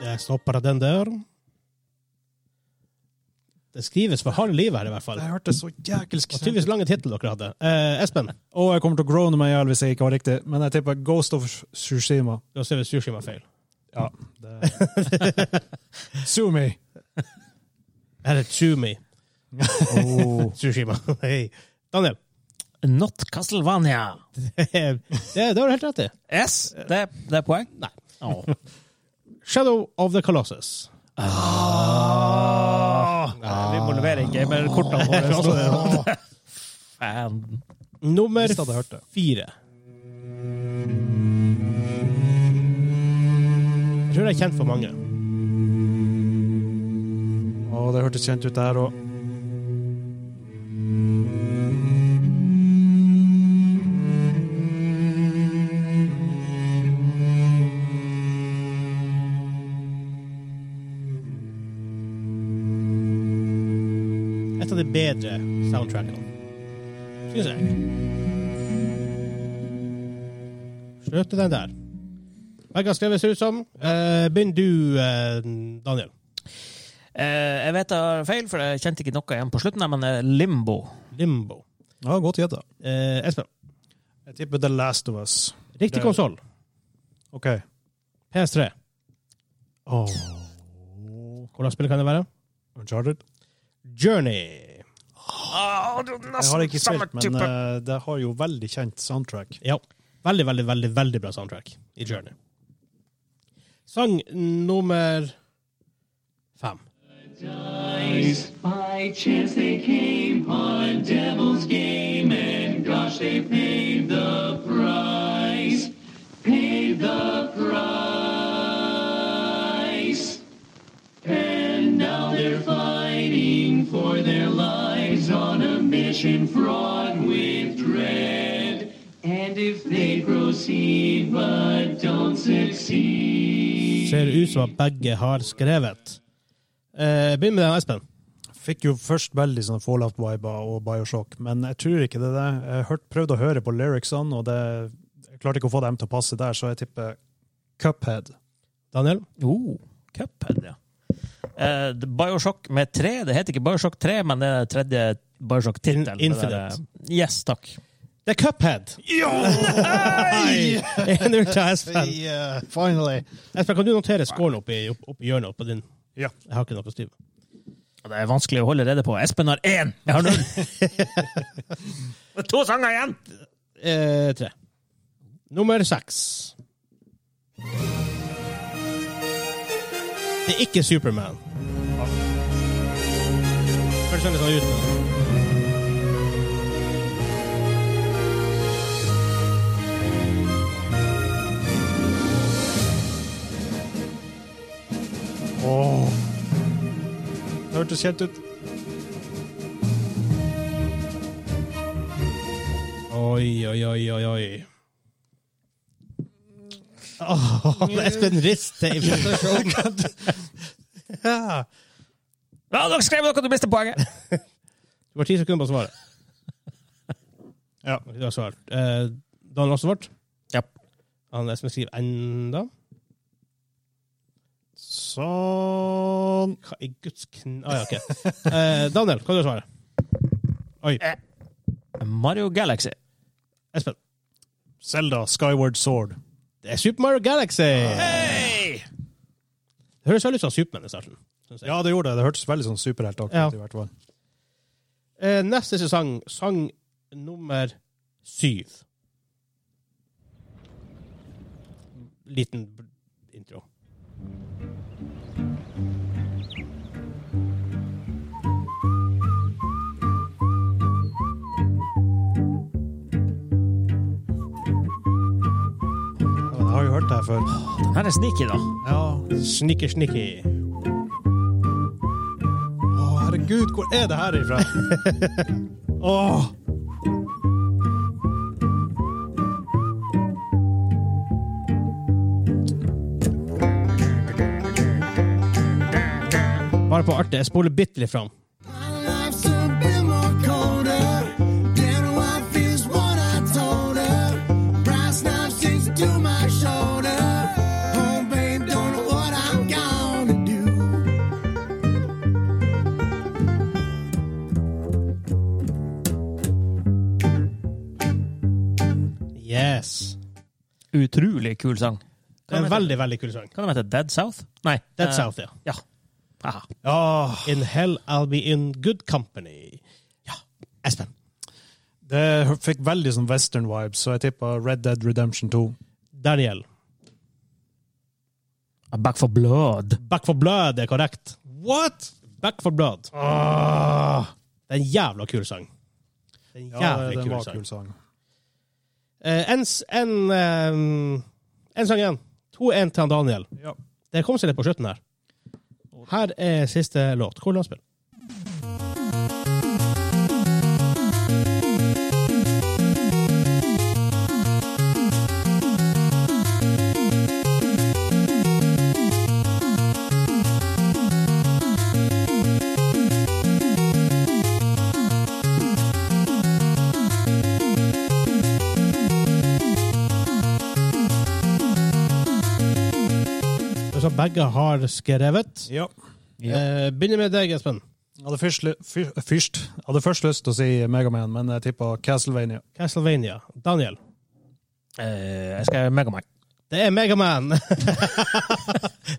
B: Jeg stopper den der. Det skrives for harde liv her, i hvert fall.
C: Det hørtes så jækels
B: Og tydeligvis lange tittel dere hadde. Eh, Espen,
C: Og jeg kommer til å groane meg i hjel hvis jeg ikke har riktig, men jeg tipper Ghost of Tsushima.
B: da ser vi Sushima feil.
C: Ja. Det... Sumi.
B: Her er Tsumi
C: Oh.
B: Sushima. Hei. Daniel,
A: Not Castlevania.
B: det, det har du helt rett i.
A: Yes, det, det er poeng.
B: Nei.
A: Å.
B: Shadow of the Colossus.
A: Nei, vi må levere inn gamerkortene våre. altså. Fan.
B: Nummer
C: Hvis jeg hadde hørt det.
B: fire. Jeg tror det er kjent for mange.
C: Å, det hørtes kjent ut der òg.
B: Et av de bedre soundtrackene. Syns jeg. Slutt den der. Vegard skrev ser ut som. Eh, Begynn du, eh, Daniel.
A: Eh, jeg vet jeg har feil, for jeg kjente ikke noe igjen på slutten, men eh, Limbo.
B: Limbo.
C: Ja, godt gjetta.
B: Eh, Espen.
C: Jeg tipper The Last of Us.
B: Riktig
C: Det-
B: konsoll.
C: OK.
B: PS3.
C: Oh.
B: Hvordan spill kan det være?
C: Uncharted?
B: Journey.
C: Jeg har ikke spilt, men eh, det har jo veldig kjent soundtrack.
B: Ja. Veldig, veldig, veldig veldig bra soundtrack i Journey. Sang nummer fem.
E: By chance they came on Devil's Game, and gosh, they paid the price. Paid the price. And now they're fighting for their lives on a mission fraught with if they proceed but don't succeed.
B: Ser ut som at begge har skrevet. Eh, Begynn med den, Espen.
C: Fikk jo først veldig sånn Fallout-viber og Bioshock, men jeg tror ikke det er det. Jeg hørt, prøvde å høre på lyricsene, og det, jeg klarte ikke å få dem til å passe der, så jeg tipper Cuphead.
B: Daniel?
A: Oh, Cuphead, ja. Eh, det- Bioshock med tre. Det heter ikke Bioshock 3, men det er den tredje Bioshock-tittelen.
B: In- Infinite.
A: Det der- eh, Yes, takk.
B: Det er Cuphead! Nei! 1-0 til Espen.
C: finally!
B: Espen, kan du notere scoren oppi, opp, opp i hjørnet oppe din?
C: Ja.
B: Jeg har ikke noe styr.
A: Det er vanskelig å holde rede på. Espen har én! Jeg har null! Det er to sanger igjen!
B: Eh, tre. Nummer seks. Det er ikke Superman. Høres veldig sånn ut.
C: Åh. Det hørtes kjent ut.
B: Oi, oi, oi, oi, oi. Åh, Espen rister i frustrasjon.
C: Ja.
A: Ja, dere skrev noe, du mister poenget!
B: Du har ti sekunder på å svare.
C: Ja.
B: Du har svart. Eh, Daniel har svart.
A: Ja.
B: Han Espen skriver enda.
C: Sånn
B: Hva i guds kn... Ah, ja, ok. Eh, Daniel, hva du svarer du?
A: Mario Galaxy.
B: Espen.
C: Zelda, Skyward Sword.
B: Det er Super Mario Galaxy!
A: Hey!
B: Det høres veldig ut som Superman i starten. synes jeg.
C: Ja, det gjorde det. Det hørtes veldig sånn superheltaktig ut.
B: Ja.
C: i hvert fall.
B: Eh, neste sesong, sang nummer syv. Liten b- intro.
C: Ja, men jeg har jo hørt det her før.
A: Den her er sneaky, da.
C: Ja.
B: Snikker, snikker.
C: Å, herregud, hvor er det her ifra? Åh!
B: Bare på artig. Jeg spoler bitte litt fram.
D: Life's a bit more colder. Damn, I feels what I told her. Brass knife sticks to my shoulder. Oh, babe, don't know what I'm gonna do.
B: Yes.
A: Utrolig kul sang.
B: Det er en veldig, veldig kul sang.
A: Hva den heter Dead South? Nei.
B: Dead
A: eh,
B: South, ja.
A: Ja. Haha.
C: Åh.
B: In hell I'll be in good company. Ja. Espen.
C: Det fikk veldig sånn western-vibes, så jeg tippa Red Dead Redemption 2.
B: Daniel.
A: Back for blood.
B: Back for blood er korrekt. What? Back for blood. Det er en jævla kul sang. Det er en
C: Ah. Ja,
B: jævlig
C: det
B: kul
C: var
B: sang.
C: kul sang.
B: Eh, en, s- en, eh, en sang igjen. 2-1 til han Daniel.
C: Ja.
B: Det kom seg litt på slutten her. Her er siste låt. Hvor la oss spille? Så begge har skrevet.
C: Ja.
B: Eh, begynner med deg, Espen.
C: Jeg hadde først, ly- fyr- først, jeg hadde først lyst til å si Megaman, men jeg tippa Castlevania.
B: Castlevania. Daniel.
A: Eh, jeg skal Megaman.
B: Det er Megaman.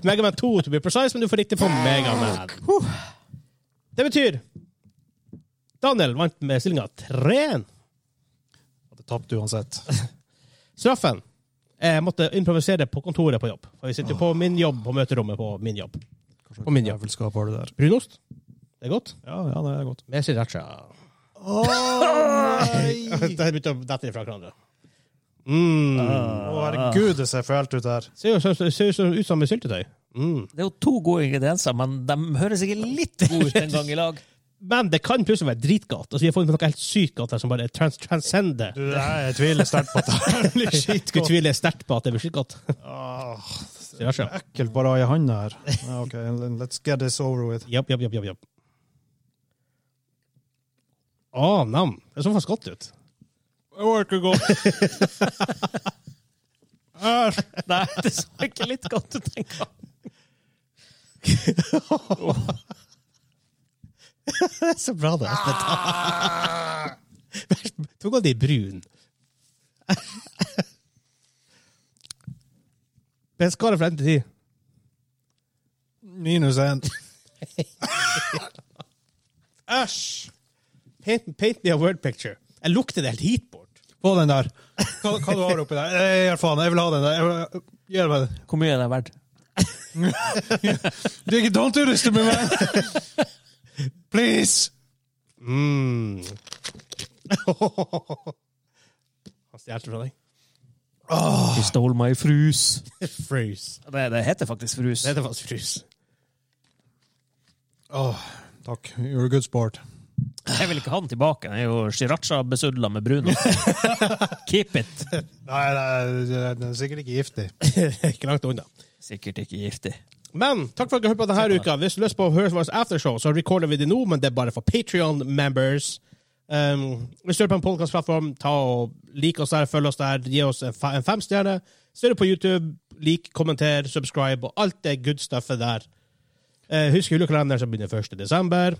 B: Megaman 2 to be precise, men du får riktig på Megaman. Det betyr Daniel vant med stillinga 3-1.
C: Hadde tapt uansett.
B: Straffen Jeg måtte improvisere på kontoret på jobb. For vi sitter jo på min jobb på møterommet på min jobb.
C: På min jævelskap har du der.
B: Brunost? Det er godt.
C: Ja, ja, det er godt.
B: Med sriracha.
C: Å,
B: Det begynte å dette ifra hverandre. Mm.
C: herregud, det ser fælt ut her.
B: Ser jo sånn- ser jo sånn ut som med syltetøy. Mm.
A: Det er jo to gode ingredienser, men de høres ikke litt gode ut en gang i lag.
B: Men det kan plutselig være dritgalt. Altså, vi har funnet noe helt sykt galt her som bare trans transcender.
F: Du, jeg jeg tviler sterkt på at det blir
B: Skulle
F: skitgodt.
B: tvile sterkt på at det blir skitgalt.
C: Ah.
F: Åh,
B: Det er så.
C: Ekkelt bare å ha i handa her. Ja, OK, let's get this over with.
B: Japp, japp, japp, japp, japp. Å, nam. Det så faktisk godt ut.
F: Jeg orker ikke godt. Æsj.
A: Nei, det så ikke litt godt ut engang.
B: Det er så bra, det.
A: Ah!
B: Tok av de brun. Beskare for enden tid.
C: Minus én.
B: Æsj! Paint, paint me a word picture. Jeg lukter det helt hit bort.
C: Få den der. Hva, hva du har oppi der? Eh, Jeg gir faen, jeg vil ha den der. Jeg vil- Gjør meg det.
A: Hvor mye er det verdt?
C: Du, ikke- Don't do this to me, man! Please!
B: Mm. Han stjal fra deg.
A: You stole my frus.
B: Frus.
A: Ah. Det, det heter faktisk frus.
B: Det heter faktisk frus.
C: Åh, takk. You're a good sport.
A: Jeg vil ikke ha den tilbake. Den er jo sriracha-besudla med brunost. Keep it!
C: Nei, nei, den er sikkert ikke giftig.
B: Ikke langt unna.
A: Sikkert ikke giftig.
B: Men takk for at dere hørte på denne uka. Hvis du har lyst på å høre vårt aftershow, så recorder vi det nå, men det er bare for Patreon members. Um, hvis du hører på en podcastplattform, ta og lik oss der, følg oss der, gi oss en, fe- en femstjerne. Stør på YouTube, lik, kommenter, subscribe og alt det good stuffet der. Eh, husk julekalenderen som begynner 1. desember.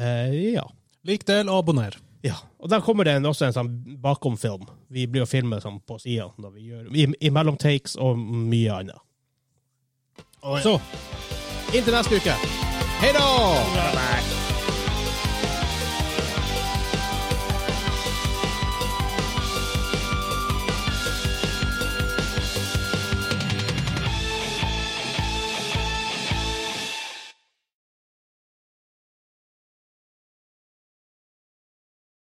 B: Eh, ja.
C: Lik del, abonner.
B: ja. Og der kommer det en, også en sånn bakomfilm. Vi blir å filme sånn på sida i, i mellom takes og mye annet. Så inntil neste uke. Hei da!
F: Nei.